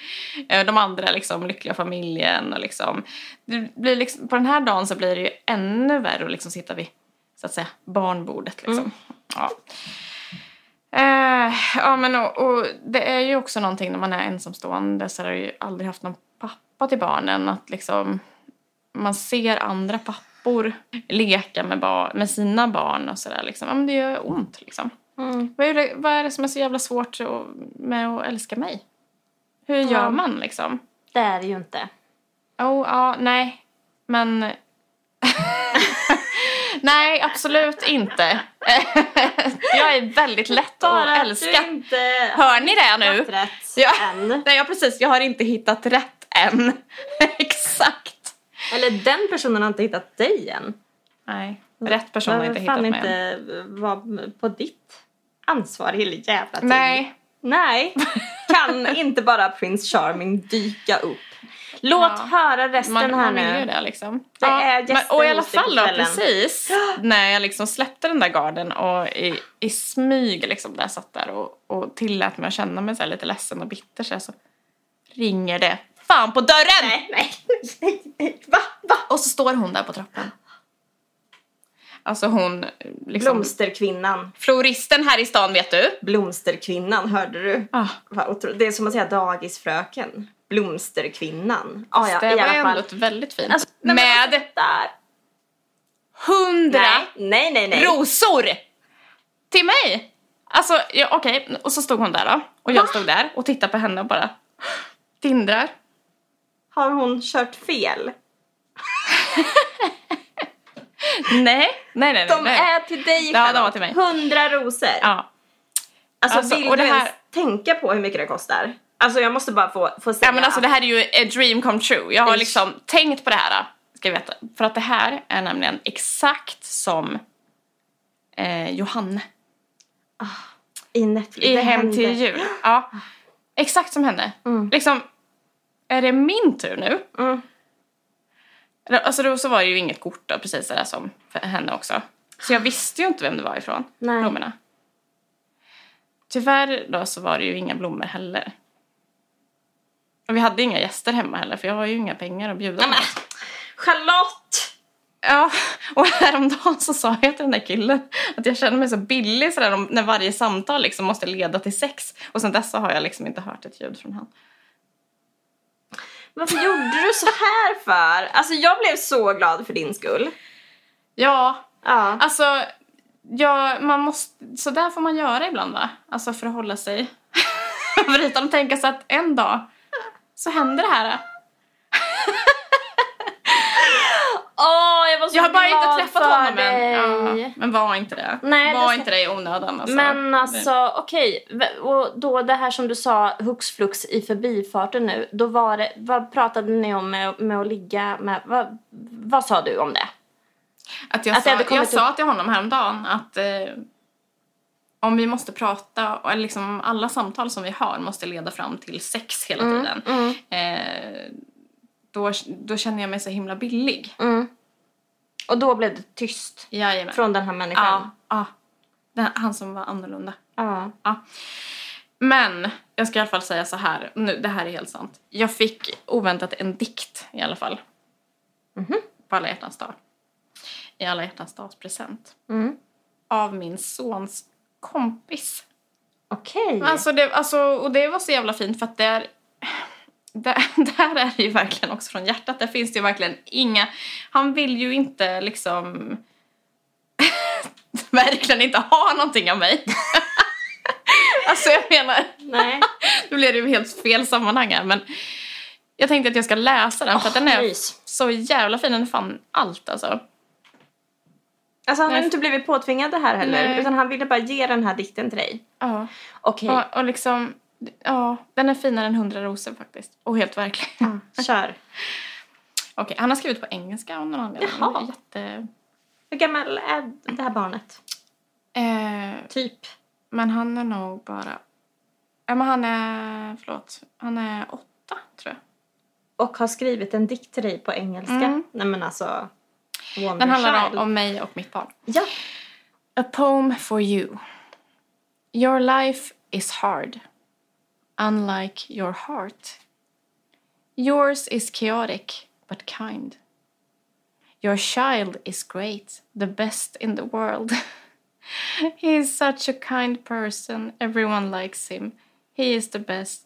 Speaker 1: Eh, De andra liksom lyckliga familjen och liksom. Det blir liksom. På den här dagen så blir det ju ännu värre att liksom sitta vid så att säga barnbordet liksom. Ja. Eh, ja men och, och det är ju också någonting när man är ensamstående så har jag ju aldrig haft någon pappa till barnen att liksom man ser andra pappor leka med, bar- med sina barn och sådär liksom. Ja men det gör ont liksom.
Speaker 2: Mm.
Speaker 1: Vad är, det, vad är det som är så jävla svårt att- med att älska mig? Hur gör
Speaker 2: Ja.
Speaker 1: man liksom?
Speaker 2: Det är det ju inte.
Speaker 1: Oh, ja, nej. Men... nej, absolut inte. jag är väldigt lätt
Speaker 2: Bara
Speaker 1: att
Speaker 2: att du
Speaker 1: älska.
Speaker 2: inte har
Speaker 1: Hör ni det nu?
Speaker 2: hittat rätt
Speaker 1: Ja.
Speaker 2: än.
Speaker 1: Nej, jag precis. Jag har inte hittat rätt än. Exakt.
Speaker 2: Eller den personen har inte hittat dig än.
Speaker 1: Nej, rätt person har
Speaker 2: Behöver
Speaker 1: inte hittat
Speaker 2: fan
Speaker 1: mig än.
Speaker 2: inte vara på ditt ansvar hela jävla tiden.
Speaker 1: Nej.
Speaker 2: Nej. Kan inte bara Prince Charming dyka upp? Låt
Speaker 1: Ja.
Speaker 2: höra resten
Speaker 1: Man,
Speaker 2: här
Speaker 1: man vill ju
Speaker 2: nu.
Speaker 1: det liksom.
Speaker 2: Det är gäster
Speaker 1: och i alla
Speaker 2: hos dig på
Speaker 1: fall då,
Speaker 2: kvällen.
Speaker 1: precis när jag liksom släppte den där garden och i, i smyg liksom där jag satt där och, och tillät mig att känna mig så här lite ledsen och bitter så, här, så ringer det fan på dörren!
Speaker 2: Nej, nej, nej, nej. Va? Va?
Speaker 1: Och så står hon där på trappan. Alltså hon, liksom,
Speaker 2: Blomsterkvinnan.
Speaker 1: floristen här i stan vet du.
Speaker 2: Blomsterkvinnan, hörde du?
Speaker 1: Ah,
Speaker 2: Vad otro- Det är som att säga dagisfröken. Blomsterkvinnan. Ah, ja,
Speaker 1: Alltså, det
Speaker 2: i
Speaker 1: var
Speaker 2: alla
Speaker 1: ändå
Speaker 2: fall.
Speaker 1: ett väldigt fint.
Speaker 2: Alltså, nej, men
Speaker 1: Med
Speaker 2: Där.
Speaker 1: hundra
Speaker 2: Nej, nej, nej. nej.
Speaker 1: rosor! Till mig! Alltså, ja, okej. Och så stod hon där då. Och jag
Speaker 2: Va?
Speaker 1: stod där och tittade på henne och bara tindrar.
Speaker 2: Har hon kört fel?
Speaker 1: Nej, nej, nej. nej,
Speaker 2: De
Speaker 1: nej.
Speaker 2: är till dig
Speaker 1: Ja, de
Speaker 2: Charlotte.
Speaker 1: var till mig.
Speaker 2: Hundra rosor.
Speaker 1: Ja.
Speaker 2: Alltså,
Speaker 1: Alltså,
Speaker 2: vill
Speaker 1: och det
Speaker 2: du ens
Speaker 1: här-
Speaker 2: tänka på hur mycket det kostar? Alltså jag måste bara få, få säga.
Speaker 1: ja, men alltså det här är ju a dream come true. Jag har
Speaker 2: Ish.
Speaker 1: liksom tänkt på det här, ska jag veta. För att det här är nämligen exakt som eh, Johanne
Speaker 2: I Netflix.
Speaker 1: i
Speaker 2: det
Speaker 1: Hem
Speaker 2: händer.
Speaker 1: till jul. Ja, exakt som henne.
Speaker 2: Mm.
Speaker 1: Liksom, är det min tur nu?
Speaker 2: Mm.
Speaker 1: Eller, Alltså då så var det ju inget kort då, precis det där som för henne också. Så jag visste ju inte vem det var ifrån,
Speaker 2: Nej.
Speaker 1: blommorna. Tyvärr då så var det ju inga blommor heller. Och vi hade inga gäster hemma heller för jag har ju inga pengar att bjuda
Speaker 2: Nej, men.
Speaker 1: på.
Speaker 2: Charlotte!
Speaker 1: Ja, och häromdagen så sa jag till den där killen att jag känner mig så billig sådär om, när varje samtal liksom måste leda till sex. Och sen dess så har jag liksom inte hört ett ljud från han.
Speaker 2: Varför gjorde du så här för? Alltså jag blev så glad för din skull.
Speaker 1: Ja,
Speaker 2: Ja.
Speaker 1: alltså ja, man måste, så där får man göra ibland va? Alltså för att hålla sig över ytan och tänka sig att en dag så händer det här.
Speaker 2: Åh, jag var så
Speaker 1: Jag har bara
Speaker 2: glad
Speaker 1: inte träffat
Speaker 2: för
Speaker 1: honom än.
Speaker 2: dig.
Speaker 1: Ja, men var inte det.
Speaker 2: Nej,
Speaker 1: var
Speaker 2: det-
Speaker 1: inte det i onödan alltså.
Speaker 2: Men alltså okej, V- och då det här som du sa hux flux i förbifarten nu, då var det, vad pratade ni om med, med att ligga med, vad, vad sa du om det?
Speaker 1: Att jag
Speaker 2: Att
Speaker 1: sa,
Speaker 2: det hade
Speaker 1: jag
Speaker 2: kommit
Speaker 1: sa till honom häromdagen att eh, om vi måste prata, och liksom alla samtal som vi har måste leda fram till sex hela tiden.
Speaker 2: mm,
Speaker 1: Eh, då, då känner jag mig så himla billig.
Speaker 2: mm. Och då blev det tyst
Speaker 1: Jajamän.
Speaker 2: från den här
Speaker 1: Ja,
Speaker 2: människan.
Speaker 1: ja. Den, han som var annorlunda.
Speaker 2: Ja.
Speaker 1: Men jag ska i alla fall säga så här, nu, det här är helt sant. Jag fick oväntat en dikt i alla fall.
Speaker 2: Mhm.
Speaker 1: På alla hjärtans dag. I alla hjärtans dags present.
Speaker 2: Mm.
Speaker 1: Av min sons kompis.
Speaker 2: Okej.
Speaker 1: Men Alltså det, alltså, och det var så jävla fint för att där, där, där är det ju verkligen också från hjärtat. Där finns det ju verkligen inga... Han vill ju inte liksom... verkligen inte ha någonting av mig. alltså jag menar,
Speaker 2: Nej.
Speaker 1: nu blir det ju helt fel sammanhang här men jag tänkte att jag ska läsa den för att den är
Speaker 2: Mys.
Speaker 1: så jävla fin. Den är fan allt alltså.
Speaker 2: Alltså han har
Speaker 1: Nej.
Speaker 2: ju inte blivit påtvingad det här heller,
Speaker 1: Nej.
Speaker 2: utan han ville bara ge den här dikten till dig.
Speaker 1: Ja.
Speaker 2: Okej,
Speaker 1: Och, och liksom, ja, den är finare än hundra rosor faktiskt. Och helt verklig.
Speaker 2: Mm. kör.
Speaker 1: Okej, han har skrivit på engelska av någon anledning.
Speaker 2: Jaha.
Speaker 1: Det är Jätte...
Speaker 2: Hur gammal är det här barnet?
Speaker 1: Eh,
Speaker 2: Typ.
Speaker 1: men han är nog bara... Ja, men han är... Förlåt. Han är åtta, tror jag.
Speaker 2: Och har skrivit en dikt till dig på engelska.
Speaker 1: Mm.
Speaker 2: Nej men alltså, Wonder
Speaker 1: Den handlar
Speaker 2: Child.
Speaker 1: om, om mig och mitt barn.
Speaker 2: Ja.
Speaker 1: A poem for you. Your life is hard, unlike your heart. Yours is chaotic, but kind. Your child is great, the best in the world. he is such a kind person, everyone likes him. He is the best,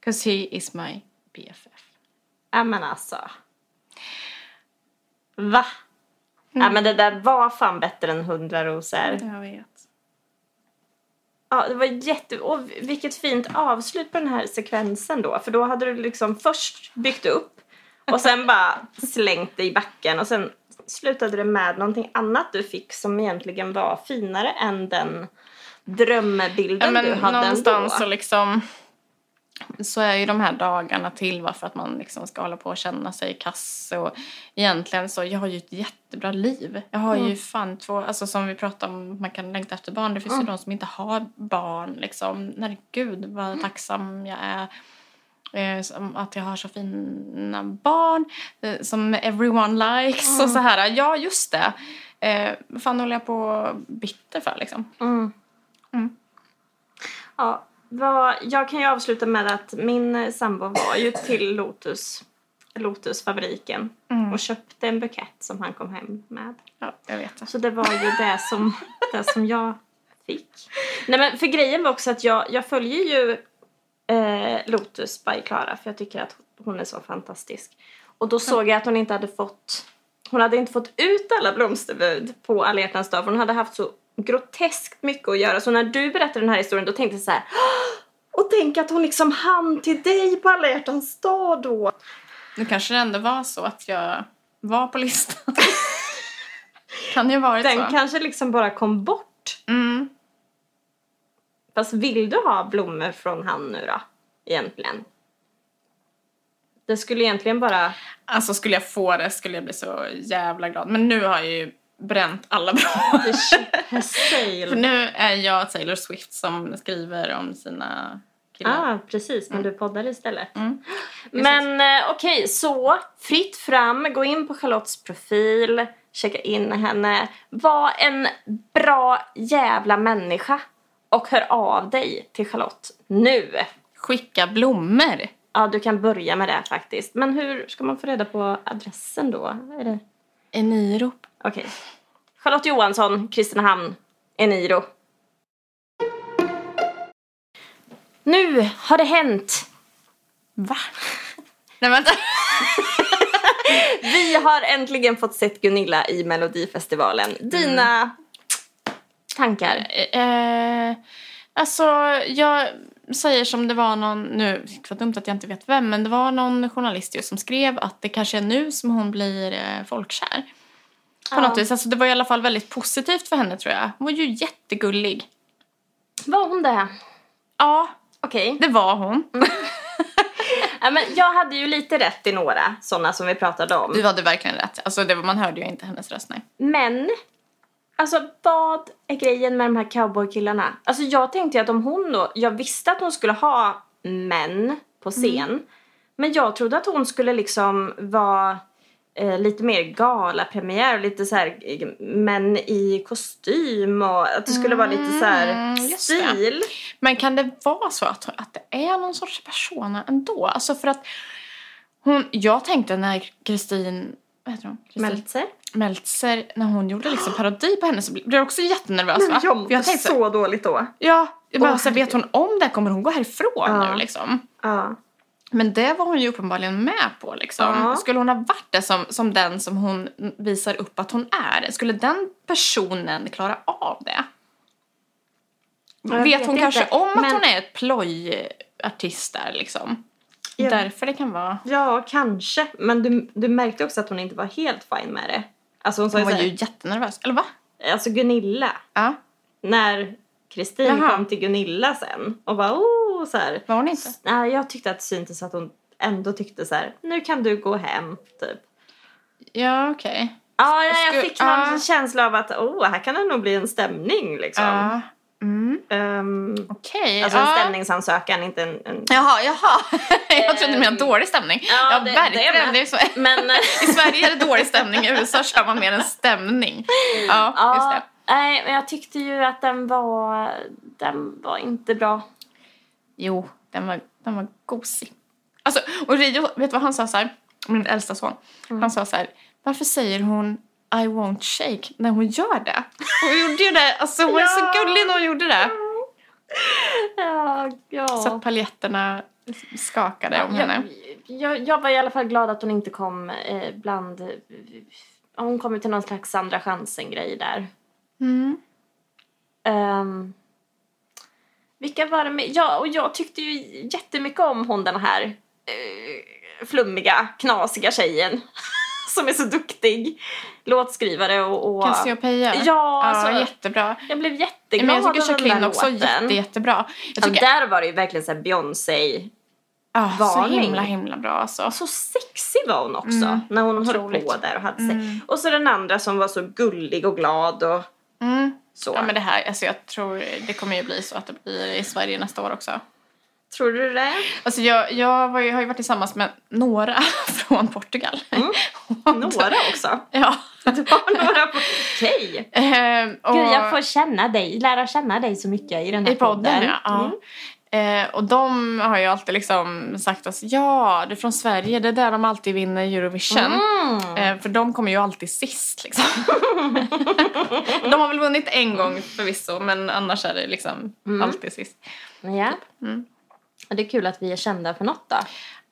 Speaker 1: because he is my BFF.
Speaker 2: Ja men alltså. Va?
Speaker 1: Mm.
Speaker 2: Ja men det där var fan bättre än hundra rosor.
Speaker 1: Jag vet.
Speaker 2: Ja, det var jätte... Och vilket fint avslut på den här sekvensen då. För då hade du liksom först byggt upp och sen bara slängt det i backen och sen slutade det med någonting annat du fick som egentligen var finare än den drömbilden
Speaker 1: Ja, men
Speaker 2: du hade ändå.
Speaker 1: någonstans så liksom så är ju de här dagarna till va, för att man liksom ska hålla på och känna sig kass och egentligen så jag har ju ett jättebra liv. Jag har
Speaker 2: Mm.
Speaker 1: ju fan två, alltså som vi pratade om man kan längta efter barn, det finns
Speaker 2: Mm.
Speaker 1: ju de som inte har barn liksom. När gud
Speaker 2: Mm.
Speaker 1: vad tacksam jag är eh, som att jag har så fina barn eh, som everyone likes
Speaker 2: Mm.
Speaker 1: och så här. Ja just det. Eh, vad fan håller jag på bitter för liksom?
Speaker 2: Mm.
Speaker 1: Mm.
Speaker 2: Ja, vad, jag kan ju avsluta med att min eh, sambo var ju till Lotus, Lotusfabriken
Speaker 1: Mm.
Speaker 2: och köpte en bukett som han kom hem med.
Speaker 1: Ja, jag vet det.
Speaker 2: Så det var ju det som, det som jag fick. Nej men för grejen var också att jag, jag följer ju eh, Lotus by Klara för jag tycker att hon är så fantastisk. Och då såg jag att hon inte hade fått, hon hade inte fått ut alla blomsterbud på alla hjärtans dag för hon hade haft så groteskt mycket att göra. Så när du berättade den här historien då tänkte jag så här. "Åh!" Och tänk att hon liksom hann till dig på alla hjärtans dag då.
Speaker 1: Nu kanske det ändå var så att jag var på listan. kan ju ha varit
Speaker 2: Den
Speaker 1: så.
Speaker 2: kanske liksom bara kom bort.
Speaker 1: Mm.
Speaker 2: Fast vill du ha blommor från han nu då? Egentligen. Det skulle egentligen bara...
Speaker 1: Alltså skulle jag få det skulle jag bli så jävla glad. Men nu har jag ju bränt alla bra.
Speaker 2: The ship has sailed.
Speaker 1: För nu är jag Taylor Swift som skriver om sina killar.
Speaker 2: Ah, precis. Men du poddar istället.
Speaker 1: Mm.
Speaker 2: Men eh, okej, så fritt fram. Gå in på Charlottes profil. checka in henne. Var en bra jävla människa och hör av dig till Charlotte nu.
Speaker 1: Skicka blommor.
Speaker 2: Ja, du kan börja med det faktiskt. Men hur ska man få reda på adressen då? Är det...
Speaker 1: Enirop.
Speaker 2: Okej. Charlotte Johansson, Kristinehamn, Eniro. Nu har det hänt!
Speaker 1: Va? Nej vänta.
Speaker 2: Vi har äntligen fått sett Gunilla i Melodifestivalen. Dina tankar?
Speaker 1: Eh, alltså jag säger som det var någon, nu vad dumt att jag inte vet vem, men det var någon journalist ju som skrev att det kanske är nu som hon blir eh, folkkär. På
Speaker 2: Ja.
Speaker 1: något vis. Alltså det var i alla fall väldigt positivt för henne tror jag. Hon var ju jättegullig.
Speaker 2: Var hon det?
Speaker 1: Ja,
Speaker 2: Okej.
Speaker 1: det var hon.
Speaker 2: Ja, men jag hade ju lite rätt i några sådana som vi pratade om.
Speaker 1: Du hade verkligen rätt. Alltså det var, man hörde ju inte hennes röst nej.
Speaker 2: Men, alltså vad är grejen med de här cowboykillarna? Alltså jag tänkte ju att om hon då, jag visste att hon skulle ha män på
Speaker 1: Mm.
Speaker 2: scen. Men jag trodde att hon skulle liksom vara eh, lite mer galapremiär och lite så här eh, män i kostym och att det skulle vara lite så här
Speaker 1: Mm, just det.
Speaker 2: stil.
Speaker 1: Men kan det vara så att, att det är någon sorts persona ändå? Alltså för att hon, jag tänkte när Kristin, vad heter hon? Kristin
Speaker 2: Meltzer.
Speaker 1: Meltzer, när hon gjorde liksom parodi på henne så blev jag också jättenervös va?
Speaker 2: Jag
Speaker 1: För
Speaker 2: mådde
Speaker 1: Alltså, jag tänkte,
Speaker 2: så dåligt då.
Speaker 1: ja, jag bara,
Speaker 2: Åh,
Speaker 1: så här, vet hon om det här? Kommer hon gå härifrån
Speaker 2: Ja.
Speaker 1: nu liksom?
Speaker 2: Ja.
Speaker 1: Men det var hon ju uppenbarligen med på liksom.
Speaker 2: Ja.
Speaker 1: Skulle hon ha varit det som, som den som hon visar upp att hon är? Skulle den personen klara av det?
Speaker 2: Ja, jag
Speaker 1: vet
Speaker 2: vet
Speaker 1: hon
Speaker 2: inte,
Speaker 1: kanske om att
Speaker 2: men-
Speaker 1: hon är ett plojartist där liksom?
Speaker 2: Ja.
Speaker 1: Därför det kan vara...
Speaker 2: Ja, kanske. Men du, du märkte också att hon inte var helt fin med det. Alltså hon sa
Speaker 1: Hon
Speaker 2: ju
Speaker 1: var
Speaker 2: såhär,
Speaker 1: ju jättenervös. Eller va?
Speaker 2: alltså Gunilla.
Speaker 1: Ja,
Speaker 2: När Kristin
Speaker 1: Jaha.
Speaker 2: kom till Gunilla sen och bara oh så här.
Speaker 1: var hon inte?
Speaker 2: Nej, jag tyckte att det syntes att hon ändå tyckte så här, nu kan du gå hem typ.
Speaker 1: Ja, okej.
Speaker 2: Ja, nej, jag
Speaker 1: Sku-
Speaker 2: fick någon
Speaker 1: ja.
Speaker 2: känsla av att oh, här kan det nog bli en stämning liksom.
Speaker 1: Ja. Mm.
Speaker 2: Ehm,
Speaker 1: Okej.
Speaker 2: alltså en
Speaker 1: ja.
Speaker 2: stämningsansökan, inte en... en...
Speaker 1: Jaha, jaha. Jag trodde du menade
Speaker 2: Ehm,
Speaker 1: dålig stämning.
Speaker 2: ja, det- det är
Speaker 1: verkligen.
Speaker 2: med.
Speaker 1: Det är så...
Speaker 2: Men... eh,
Speaker 1: I Sverige är det dålig stämning, i USA kör man mer en stämning. Ja, just det.
Speaker 2: Nej, men jag tyckte ju att den var... Den var inte bra.
Speaker 1: Jo, den var, den var gosig. Alltså, och Rio, vet du vad han sa så här? Min äldsta son.
Speaker 2: Mm.
Speaker 1: Han sa så här, varför säger hon I won't shake när hon gör det? Hon gjorde ju det, alltså hon var
Speaker 2: Ja.
Speaker 1: så gullig när hon gjorde det.
Speaker 2: Ja, ja.
Speaker 1: Så att paljetterna skakade om henne.
Speaker 2: jag, Mm. jag, jag var i alla fall glad att hon inte kom eh, bland... eh, Hon kom ju till någon slags andra chansen-grej där.
Speaker 1: Mm.
Speaker 2: Ehm, vilka var det med? Ja, och jag tyckte ju jättemycket om hon den här eh, flummiga, knasiga tjejen. som är så duktig. Låtskrivare och... och
Speaker 1: Cassiopeia.
Speaker 2: Ja, alltså,
Speaker 1: ja, jättebra.
Speaker 2: jag blev
Speaker 1: Men
Speaker 2: jätteglad
Speaker 1: jag tycker
Speaker 2: över den
Speaker 1: Jacqueline
Speaker 2: där
Speaker 1: också
Speaker 2: låten.
Speaker 1: jätte, jättebra. Jag
Speaker 2: Ja,
Speaker 1: tycker
Speaker 2: där var det ju verkligen så här Beyoncé.
Speaker 1: Ah, så
Speaker 2: Varning.
Speaker 1: himla himla bra alltså.
Speaker 2: Så sexig var hon också
Speaker 1: Mm.
Speaker 2: när hon höll
Speaker 1: Otroligt.
Speaker 2: på där och hade sig.
Speaker 1: Mm.
Speaker 2: Och så den andra som var så gullig och glad och
Speaker 1: Mm.
Speaker 2: så.
Speaker 1: Ja men det här, alltså jag tror det kommer ju bli så att det blir i Sverige nästa år också.
Speaker 2: Tror du det?
Speaker 1: Alltså jag, jag var ju, har ju varit tillsammans med några från Portugal.
Speaker 2: Mm.
Speaker 1: Och-
Speaker 2: Några också.
Speaker 1: Ja.
Speaker 2: Det var några på... Okej.
Speaker 1: Ehm, och,
Speaker 2: Gud, jag får känna dig, lära känna dig så mycket i den här
Speaker 1: I podden ja. ja.
Speaker 2: Mm.
Speaker 1: Eh, och de har ju alltid liksom sagt att ja, du är från Sverige, det är där de alltid vinner Eurovision.
Speaker 2: Mm.
Speaker 1: Eh, för de kommer ju alltid sist liksom. de har väl vunnit en gång förvisso, men annars är det liksom
Speaker 2: Mm.
Speaker 1: alltid sist.
Speaker 2: Ja.
Speaker 1: Mm.
Speaker 2: Det är kul att vi är kända för något då.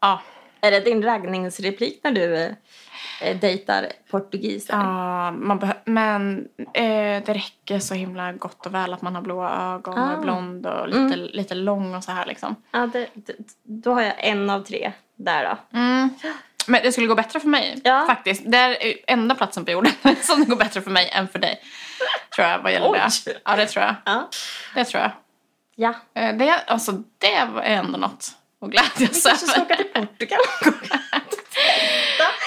Speaker 1: Ja.
Speaker 2: Är det din raggningsreplik när du eh, dejtar portugiser?
Speaker 1: Ja, man behö- men eh, det räcker så himla gott och väl att man har blåa ögon och
Speaker 2: Ah.
Speaker 1: är blond och lite, lite lång och så här liksom.
Speaker 2: Ja, det, det, då har jag en av tre där då.
Speaker 1: Mm. Men det skulle gå bättre för mig
Speaker 2: Ja.
Speaker 1: faktiskt. Det är ju enda platsen på jorden som det går bättre för mig än för dig. Tror jag vad gäller
Speaker 2: Oj.
Speaker 1: det. Ja, det tror jag.
Speaker 2: Ja.
Speaker 1: Det tror jag.
Speaker 2: ja.
Speaker 1: Eh, Det, alltså, det är ändå något att glädjas
Speaker 2: kanske ska
Speaker 1: över.
Speaker 2: åka till Portugal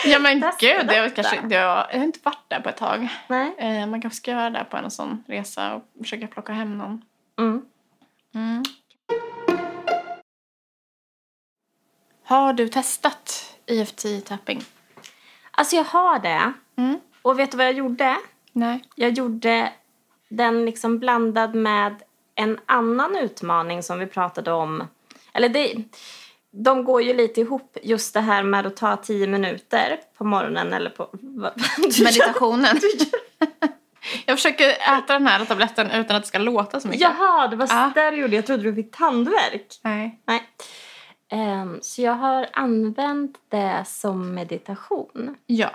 Speaker 1: Ja men
Speaker 2: Testa
Speaker 1: gud, det är väl
Speaker 2: detta.
Speaker 1: kanske, det har, jag har inte varit där på ett tag.
Speaker 2: Nej.
Speaker 1: Eh, man kanske ska göra det på en sån resa och försöka plocka hem någon.
Speaker 2: Mm.
Speaker 1: Mm. Har du testat IFT tapping?
Speaker 2: Alltså jag har det.
Speaker 1: Mm.
Speaker 2: Och vet du vad jag gjorde?
Speaker 1: Nej.
Speaker 2: Jag gjorde den liksom blandad med en annan utmaning som vi pratade om. Eller det, de går ju lite ihop, just det här med att ta tio minuter på morgonen eller på... vad- vad du gör.
Speaker 1: Meditationen. jag försöker äta den här tabletten utan att det ska låta så mycket.
Speaker 2: Jaha, det var
Speaker 1: Ja.
Speaker 2: så där du gjorde. Jag trodde du fick tandvärk.
Speaker 1: Nej.
Speaker 2: Nej. Ehm, så jag har använt det som meditation.
Speaker 1: Ja.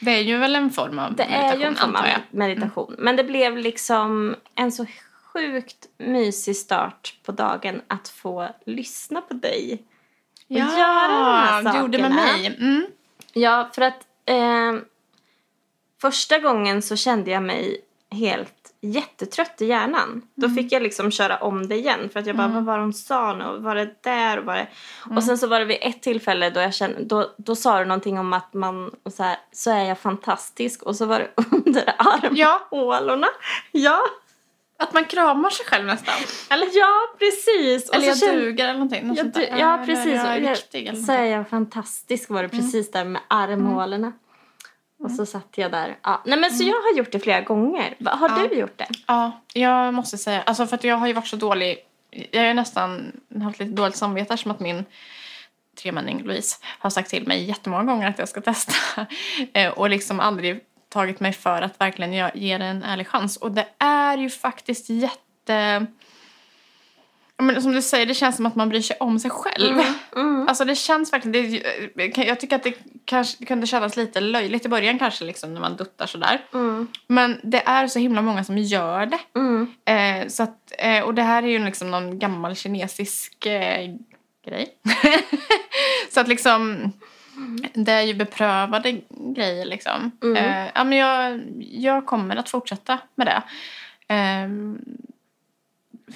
Speaker 1: Det är ju väl en form av
Speaker 2: Det
Speaker 1: meditation,
Speaker 2: är ju en form av
Speaker 1: antar jag. Mm.
Speaker 2: meditation. Men det blev liksom en så sjukt mysig start på dagen att få lyssna på dig. Och
Speaker 1: Ja,
Speaker 2: göra de här
Speaker 1: du gjorde med
Speaker 2: sakerna.
Speaker 1: mig. Mm.
Speaker 2: Ja, för att ehm, första gången så kände jag mig helt jättetrött i hjärnan. Då
Speaker 1: Mm.
Speaker 2: fick jag liksom köra om det igen för att jag bara, vad var det hon sa nu? Var det där? Och, var det...
Speaker 1: Mm.
Speaker 2: och sen så var det vid ett tillfälle då jag kände, då, då sa du någonting om att man, och så, här, så är jag fantastisk och så var det under
Speaker 1: Ja.
Speaker 2: armhålorna. Ja.
Speaker 1: Att man kramar sig själv nästan.
Speaker 2: eller ja, precis. Och
Speaker 1: Eller
Speaker 2: så
Speaker 1: jag
Speaker 2: kände-
Speaker 1: duger eller någonting. Något
Speaker 2: Ja,
Speaker 1: sånt
Speaker 2: du,
Speaker 1: där.
Speaker 2: ja Mm.
Speaker 1: Eller
Speaker 2: precis.
Speaker 1: Jag är
Speaker 2: Och jag-
Speaker 1: viktig eller
Speaker 2: Så
Speaker 1: någonting.
Speaker 2: är jag fantastisk var det precis där med armhålorna. Och så satt jag där. Ja. Nej, men så jag har gjort det flera gånger. Va- Har
Speaker 1: Ja.
Speaker 2: du gjort det?
Speaker 1: Ja, jag måste säga. Alltså för att jag har ju varit så dålig. Jag har ju nästan haft lite dåligt samvete som att min tremänning Louise har sagt till mig jättemånga gånger att jag ska testa. Eh, Och liksom aldrig tagit mig för att verkligen jag ger det en ärlig chans. Och det är ju faktiskt jätte... Ja, Men som du säger, det känns som att man bryr sig om sig själv.
Speaker 2: Mm.
Speaker 1: Alltså det känns verkligen, det, är ju- eh, jag tycker att det kanske kunde kännas lite löjligt i början kanske liksom när man duttar sådär.
Speaker 2: Mm.
Speaker 1: Men det är så himla många som gör det.
Speaker 2: Mm.
Speaker 1: Eh, så att, eh, och det här är ju liksom någon gammal kinesisk eh, grej. så att liksom, det är ju beprövade grejer liksom.
Speaker 2: Mm.
Speaker 1: Eh, ja, men jag, jag kommer att fortsätta med det. Eh,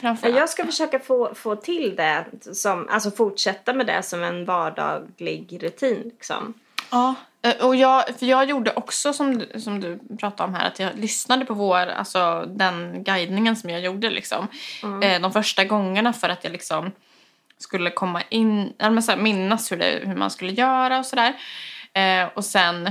Speaker 1: framförallt.
Speaker 2: Jag ska försöka få, få till det, som, alltså fortsätta med det som en vardaglig rutin. Liksom.
Speaker 1: Ja, eh, och jag, för jag gjorde också som, du- som du pratade om här, att jag lyssnade på vår, alltså den guidningen som jag gjorde liksom.
Speaker 2: Mm.
Speaker 1: Eh, De första gångerna för att jag liksom skulle komma in, ja, men så här, minnas hur, det, hur man skulle göra och sådär. Eh, och sen,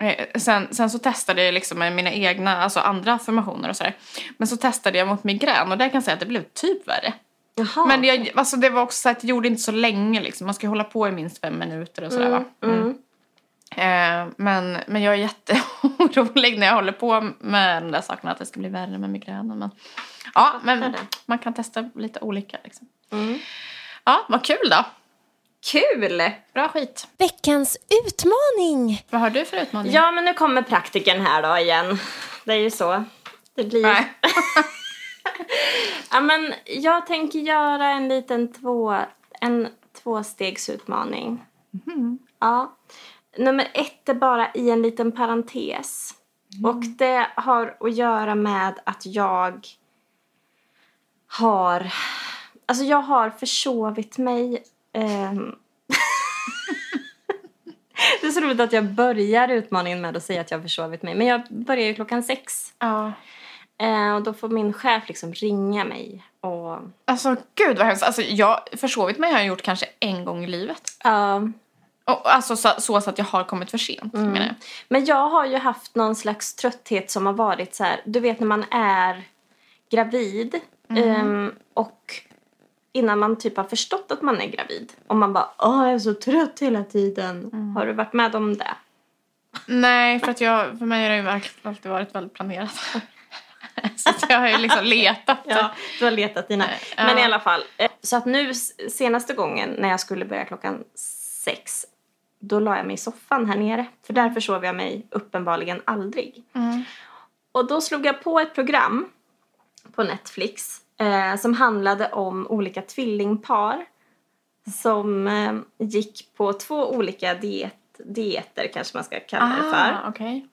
Speaker 1: eh, sen, sen så testade jag liksom med mina egna, alltså andra affirmationer och sådär. Men så testade jag mot migrän och där kan jag säga att det blev typ värre.
Speaker 2: Jaha.
Speaker 1: Men jag, alltså det var också så att jag gjorde inte så länge liksom. Man ska hålla på i minst fem minuter och sådär
Speaker 2: mm.
Speaker 1: va. Mm.
Speaker 2: Mm.
Speaker 1: Eh, men, men jag är jätteorolig när jag håller på med de där sakerna att det ska bli värre med migränen. Men, ja, men
Speaker 2: det.
Speaker 1: man kan testa lite olika. Liksom.
Speaker 2: Mm.
Speaker 1: Ja, vad kul då.
Speaker 2: Kul!
Speaker 1: Bra skit.
Speaker 3: Veckans utmaning!
Speaker 1: Vad har du för utmaning?
Speaker 2: Ja, men nu kommer praktiken här då igen. Det är ju så. Det blir...
Speaker 1: Nej.
Speaker 2: Ja, men jag tänker göra en liten två, en tvåstegsutmaning. Ja. Nummer ett är bara i en liten parentes. Och det har att göra med att jag har... Alltså jag har försovit mig. ehm. det är så roligt att jag börjar utmaningen med att säga att jag har försovit mig. Men jag börjar ju klockan sex.
Speaker 1: Ja.
Speaker 2: Eh, och då får min chef liksom ringa mig. Och,
Speaker 1: Alltså gud vad hemskt. Alltså, jag försovit mig har jag gjort kanske en gång i livet.
Speaker 2: ja.
Speaker 1: Och, alltså så, så, så att jag har kommit för sent
Speaker 2: Mm.
Speaker 1: menar jag.
Speaker 2: men jag har ju haft någon slags trötthet som har varit så här. Du vet när man är gravid ehm, och innan man typ har förstått att man är gravid. Och man bara Åh, jag är så trött hela tiden. Har du varit med om det?
Speaker 1: Nej, för, att jag, för mig har det ju verkligen alltid varit väldigt planerat. så att jag har ju liksom letat.
Speaker 2: Ja, du har letat dina.
Speaker 1: Ja.
Speaker 2: Men i alla fall. eh, Så att nu s- senaste gången när jag skulle börja klockan sex. Då la jag mig i soffan här nere. För där försov jag mig uppenbarligen aldrig.
Speaker 1: Mm.
Speaker 2: Och då slog jag på ett program på Netflix eh, som handlade om olika tvillingpar som eh, gick på två olika diet, dieter, kanske man ska kalla det för.
Speaker 1: Ah, okej.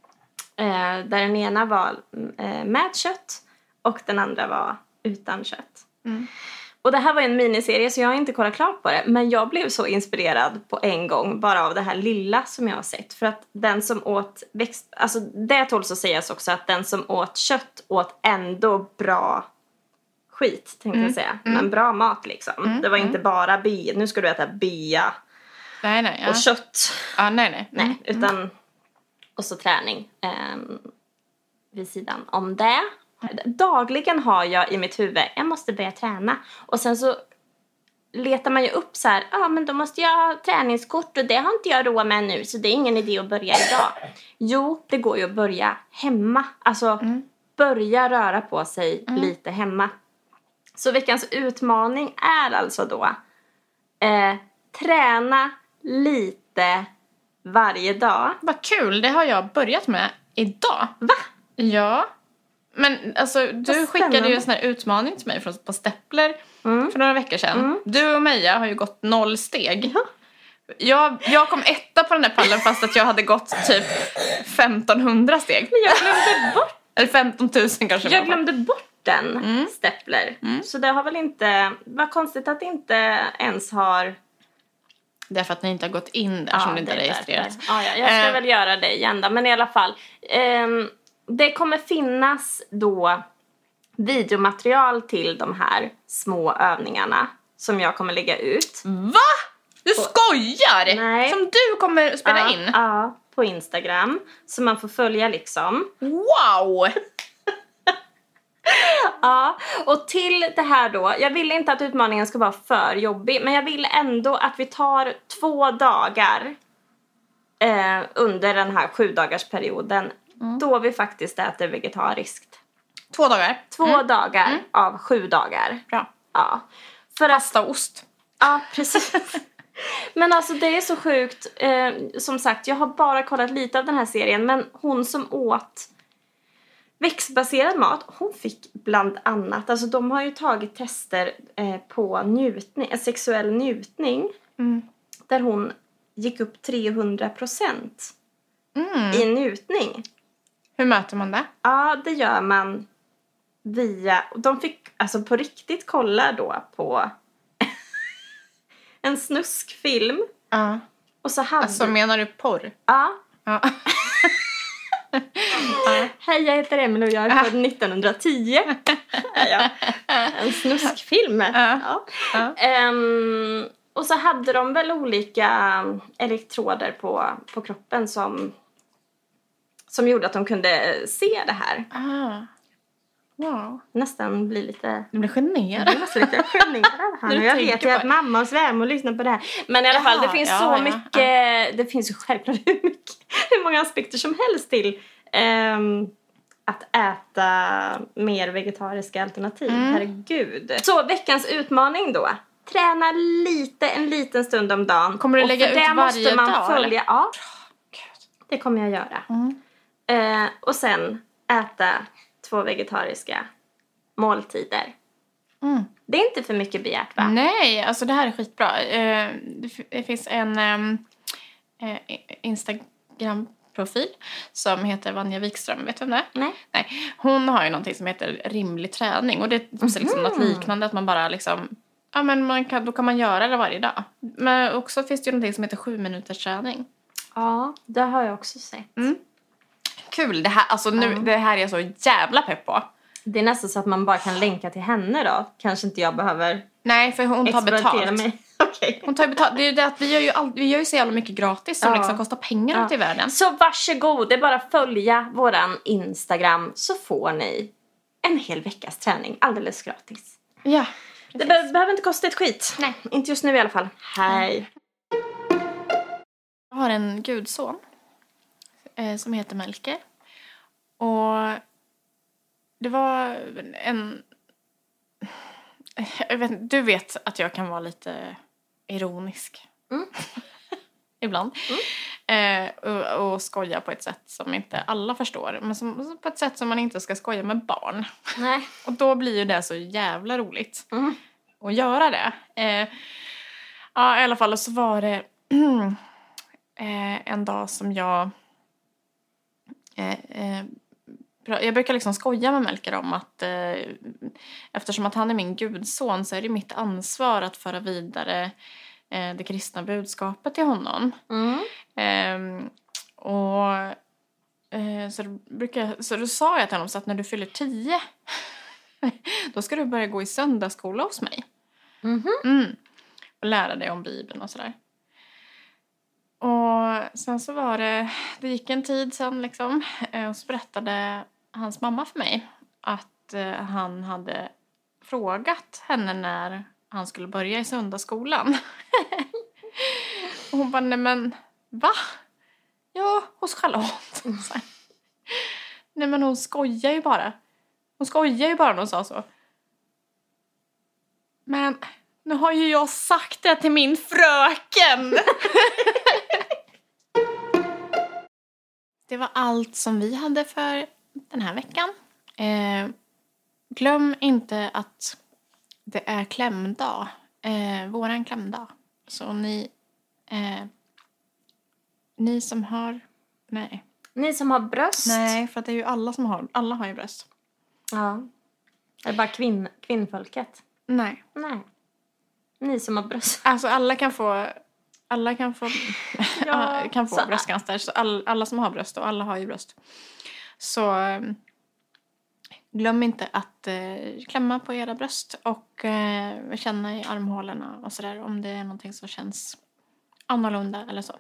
Speaker 2: Eh, där den ena var eh, med kött och den andra var utan kött.
Speaker 1: Mm.
Speaker 2: Och det här var ju en miniserie så jag har inte kollat klart på det. Men jag blev så inspirerad på en gång bara av det här lilla som jag har sett. För att den som åt växt... Alltså det tåls att sägas också att den som åt kött åt ändå bra skit tänkte jag säga. Men bra mat liksom. Det var inte bara bea. Nu ska du äta bea
Speaker 1: Nej, nej. Ja.
Speaker 2: och kött.
Speaker 1: Ja, nej, nej.
Speaker 2: Nej,
Speaker 1: Mm.
Speaker 2: utan och så träning ehm, vid sidan om det. Dagligen har jag i mitt huvud, jag måste börja träna. Och sen så letar man ju upp så här, ja ah, men då måste jag ha träningskort och det har inte jag råd med nu så det är ingen idé att börja idag. Jo, det går ju att börja hemma. Alltså
Speaker 1: Mm.
Speaker 2: börja röra på sig lite hemma. Så veckans utmaning är alltså då eh, träna lite varje dag.
Speaker 1: Vad kul, det har jag börjat med idag.
Speaker 2: Va?
Speaker 1: Ja. Men alltså, du
Speaker 2: Vad
Speaker 1: skickade ju en
Speaker 2: spännande.
Speaker 1: sån här utmaning till mig från på Steppler
Speaker 2: Mm.
Speaker 1: för några veckor sedan. Du och Meja har ju gått noll steg. Jag, jag kom etta på den där pallen fast att jag hade gått typ 1500 steg.
Speaker 2: Men jag glömde bort
Speaker 1: Eller 15 000 kanske.
Speaker 2: Jag Mm. glömde bort den Steppler. Så det har väl inte... Vad konstigt att det inte ens har...
Speaker 1: Därför att ni inte har gått in där som det inte
Speaker 2: det
Speaker 1: har
Speaker 2: är
Speaker 1: registrerats.
Speaker 2: därför. Ja, ja, jag ska
Speaker 1: Eh.
Speaker 2: väl göra det igen då. Men i alla fall. ehm, det kommer finnas då videomaterial till de här små övningarna som jag kommer lägga ut.
Speaker 1: Va? Du skojar!
Speaker 2: Nej.
Speaker 1: Som du kommer spela
Speaker 2: ja,
Speaker 1: in?
Speaker 2: Ja, på Instagram. Så man får följa liksom.
Speaker 1: Wow!
Speaker 2: Ja, och till det här då. Jag vill inte att utmaningen ska vara för jobbig, men jag vill ändå att vi tar två dagar eh, under den här sju dagars perioden då vi faktiskt äter vegetariskt.
Speaker 1: Två dagar.
Speaker 2: Två dagar av sju dagar.
Speaker 1: Bra.
Speaker 2: Ja. För att,
Speaker 1: Pasta och ost.
Speaker 2: ja, precis. men alltså det är så sjukt. Eh, som sagt, jag har bara kollat lite av den här serien, men hon som åt växtbaserad mat, hon fick bland annat, alltså de har ju tagit tester eh, på njutning, eh, sexuell njutning
Speaker 1: Mm.
Speaker 2: där hon gick upp 300 procent
Speaker 1: Mm.
Speaker 2: i njutning.
Speaker 1: Hur möter man det?
Speaker 2: Ja, det gör man via, och de fick alltså på riktigt kolla då på en snuskfilm
Speaker 1: Ja.
Speaker 2: och så hade,
Speaker 1: Alltså menar du porr?
Speaker 2: ja,
Speaker 1: Ja.
Speaker 2: Hej, jag heter Emil och jag är född 1910. Är jag. En snuskfilm.
Speaker 1: Ja. Ja.
Speaker 2: Ehm, och så hade de väl olika elektroder på, på kroppen som, som gjorde att de kunde se det här.
Speaker 1: Ah. Wow.
Speaker 2: Nästan bli lite...
Speaker 1: Jag blir
Speaker 2: Jag
Speaker 1: generad.
Speaker 2: blir nästan lite generad
Speaker 1: När
Speaker 2: här nu.
Speaker 1: du
Speaker 2: Jag
Speaker 1: tänker
Speaker 2: vet ju
Speaker 1: på
Speaker 2: att
Speaker 1: det.
Speaker 2: mamma och svärmor lyssnar på det här. Men i alla fall, det
Speaker 1: Jaha,
Speaker 2: finns
Speaker 1: ja,
Speaker 2: så
Speaker 1: ja,
Speaker 2: mycket... Det finns ju självklart hur, mycket, hur många aspekter som helst till ehm, att äta mer vegetariska alternativ.
Speaker 1: Mm.
Speaker 2: Herregud. Så veckans utmaning då. Träna lite, en liten stund om dagen.
Speaker 1: Kommer du
Speaker 2: Och
Speaker 1: lägga
Speaker 2: för
Speaker 1: ut
Speaker 2: det
Speaker 1: varje
Speaker 2: måste man
Speaker 1: dag,
Speaker 2: Följa,
Speaker 1: eller?
Speaker 2: Ja,
Speaker 1: Gud.
Speaker 2: det kommer jag göra.
Speaker 1: Mm.
Speaker 2: Eh, och sen äta två vegetariska måltider.
Speaker 1: Mm.
Speaker 2: Det är inte för mycket begärt va?
Speaker 1: Nej, alltså det här är skitbra. Eh, Det fi- det finns en ehm, eh, Instagram-profil som heter Vanja Wikström. Vet du vem det är?
Speaker 2: Nej.
Speaker 1: Nej. Hon har ju någonting som heter rimlig träning. Och det är typ så liksom något liknande att man bara liksom... Ja, men man kan, då kan man göra det varje dag. Men också finns det ju någonting som heter sju minuters träning.
Speaker 2: Ja, det har jag också sett.
Speaker 1: Mm. Kul! Det här, alltså nu, det här är jag så jävla pepp på.
Speaker 2: Det är nästan så att man bara kan länka till henne då. Kanske inte jag behöver
Speaker 1: Nej, för hon tar betalt.
Speaker 2: mig. Okej.
Speaker 1: Hon tar ju betalt. Det är ju det att vi gör ju, all, vi gör ju så jävla mycket gratis som
Speaker 2: Ja.
Speaker 1: liksom kostar pengar
Speaker 2: Ja.
Speaker 1: ute i världen.
Speaker 2: Så varsågod, det är bara att följa våran Instagram så får ni en hel veckas träning alldeles gratis.
Speaker 1: Ja.
Speaker 2: Det be- behöver inte kosta ett skit. Nej. Inte just nu i alla fall. Hej.
Speaker 1: Jag har en gudson eh, som heter Melker. Och det var en... Jag vet, inte, du vet att jag kan vara lite ironisk.
Speaker 2: Mm.
Speaker 1: Ibland. Eh, och, och skoja på ett sätt som inte alla förstår. Men som, på ett sätt som man inte ska skoja med barn.
Speaker 2: Nej.
Speaker 1: Och då blir ju det så jävla roligt
Speaker 2: Mm.
Speaker 1: att göra det. Eh, ja, i alla fall och så var det eh, en dag som jag... Eh, eh, pra- jag brukar liksom skoja med Melker om att eh, eftersom att han är min gudson så är det mitt ansvar att föra vidare eh, det kristna budskapet till honom.
Speaker 2: Mm.
Speaker 1: Ehm, och eh, så, då brukar jag, så då sa jag till honom så att när du fyller 10 då ska du börja gå i söndagsskola hos mig.
Speaker 2: Mhm.
Speaker 1: Mm. Och lära dig om Bibeln och sådär. Och sen så var det, det gick en tid sen liksom eh, och så berättade hans mamma för mig att eh, han hade frågat henne när han skulle börja i söndagsskolan. och hon bara, nej men va? Ja, hos Charlotte. Så här. nej men hon skojar ju bara. Hon skojar ju bara när hon sa så. Men nu har ju jag sagt det till min fröken! det var allt som vi hade för den här veckan. Eh, glöm inte att det är klämdag. Eh, våran klämdag. Så ni... Eh, ni som har... Nej.
Speaker 2: Ni som har bröst.
Speaker 1: Nej, för att det är ju alla som har... Alla har ju bröst.
Speaker 2: Ja. Är det bara kvinn, kvinnfolket?
Speaker 1: Nej.
Speaker 2: Nej. Ni som har bröst.
Speaker 1: Alltså alla kan få... Alla kan få,
Speaker 2: Ja,
Speaker 1: ja, Ah, kan få
Speaker 2: så-
Speaker 1: bröstcancer. Så all, alla som har bröst, och alla har ju bröst. Så eh, glöm inte att eh, klämma på era bröst och eh, känna i armhålorna och sådär om det är någonting som känns annorlunda eller så.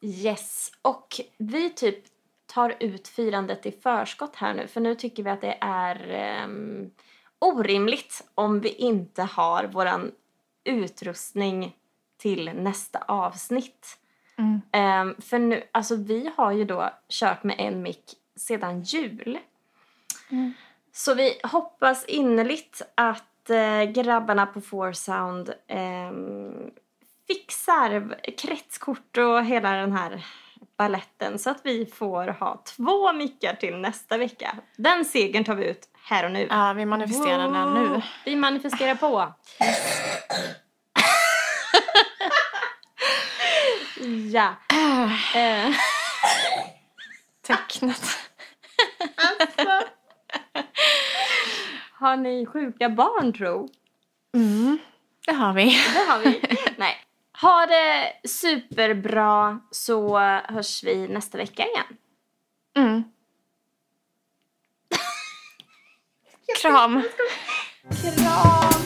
Speaker 2: Yes. Och vi typ tar ut firandet i förskott här nu. För nu tycker vi att det är ehm, orimligt om vi inte har våran utrustning till nästa avsnitt.
Speaker 1: Mm.
Speaker 2: Ehm, för nu, alltså vi har ju då kört med en mick sedan jul.
Speaker 1: Mm.
Speaker 2: Så vi hoppas innerligt att eh, grabbarna på Foursound ehm, fixar kretskort och hela den här balletten så att vi får ha två mickar till nästa vecka. Den segern tar vi ut här och nu.
Speaker 1: Ja, vi manifesterar den nu.
Speaker 2: Vi manifesterar på. ja. Eh.
Speaker 1: Tecknet.
Speaker 2: Har ni sjuka barn tro?
Speaker 1: Mm, det har vi.
Speaker 2: Det har vi. Nej. Ha det superbra så hörs vi nästa vecka igen.
Speaker 1: Mm. Kram.
Speaker 2: Kram!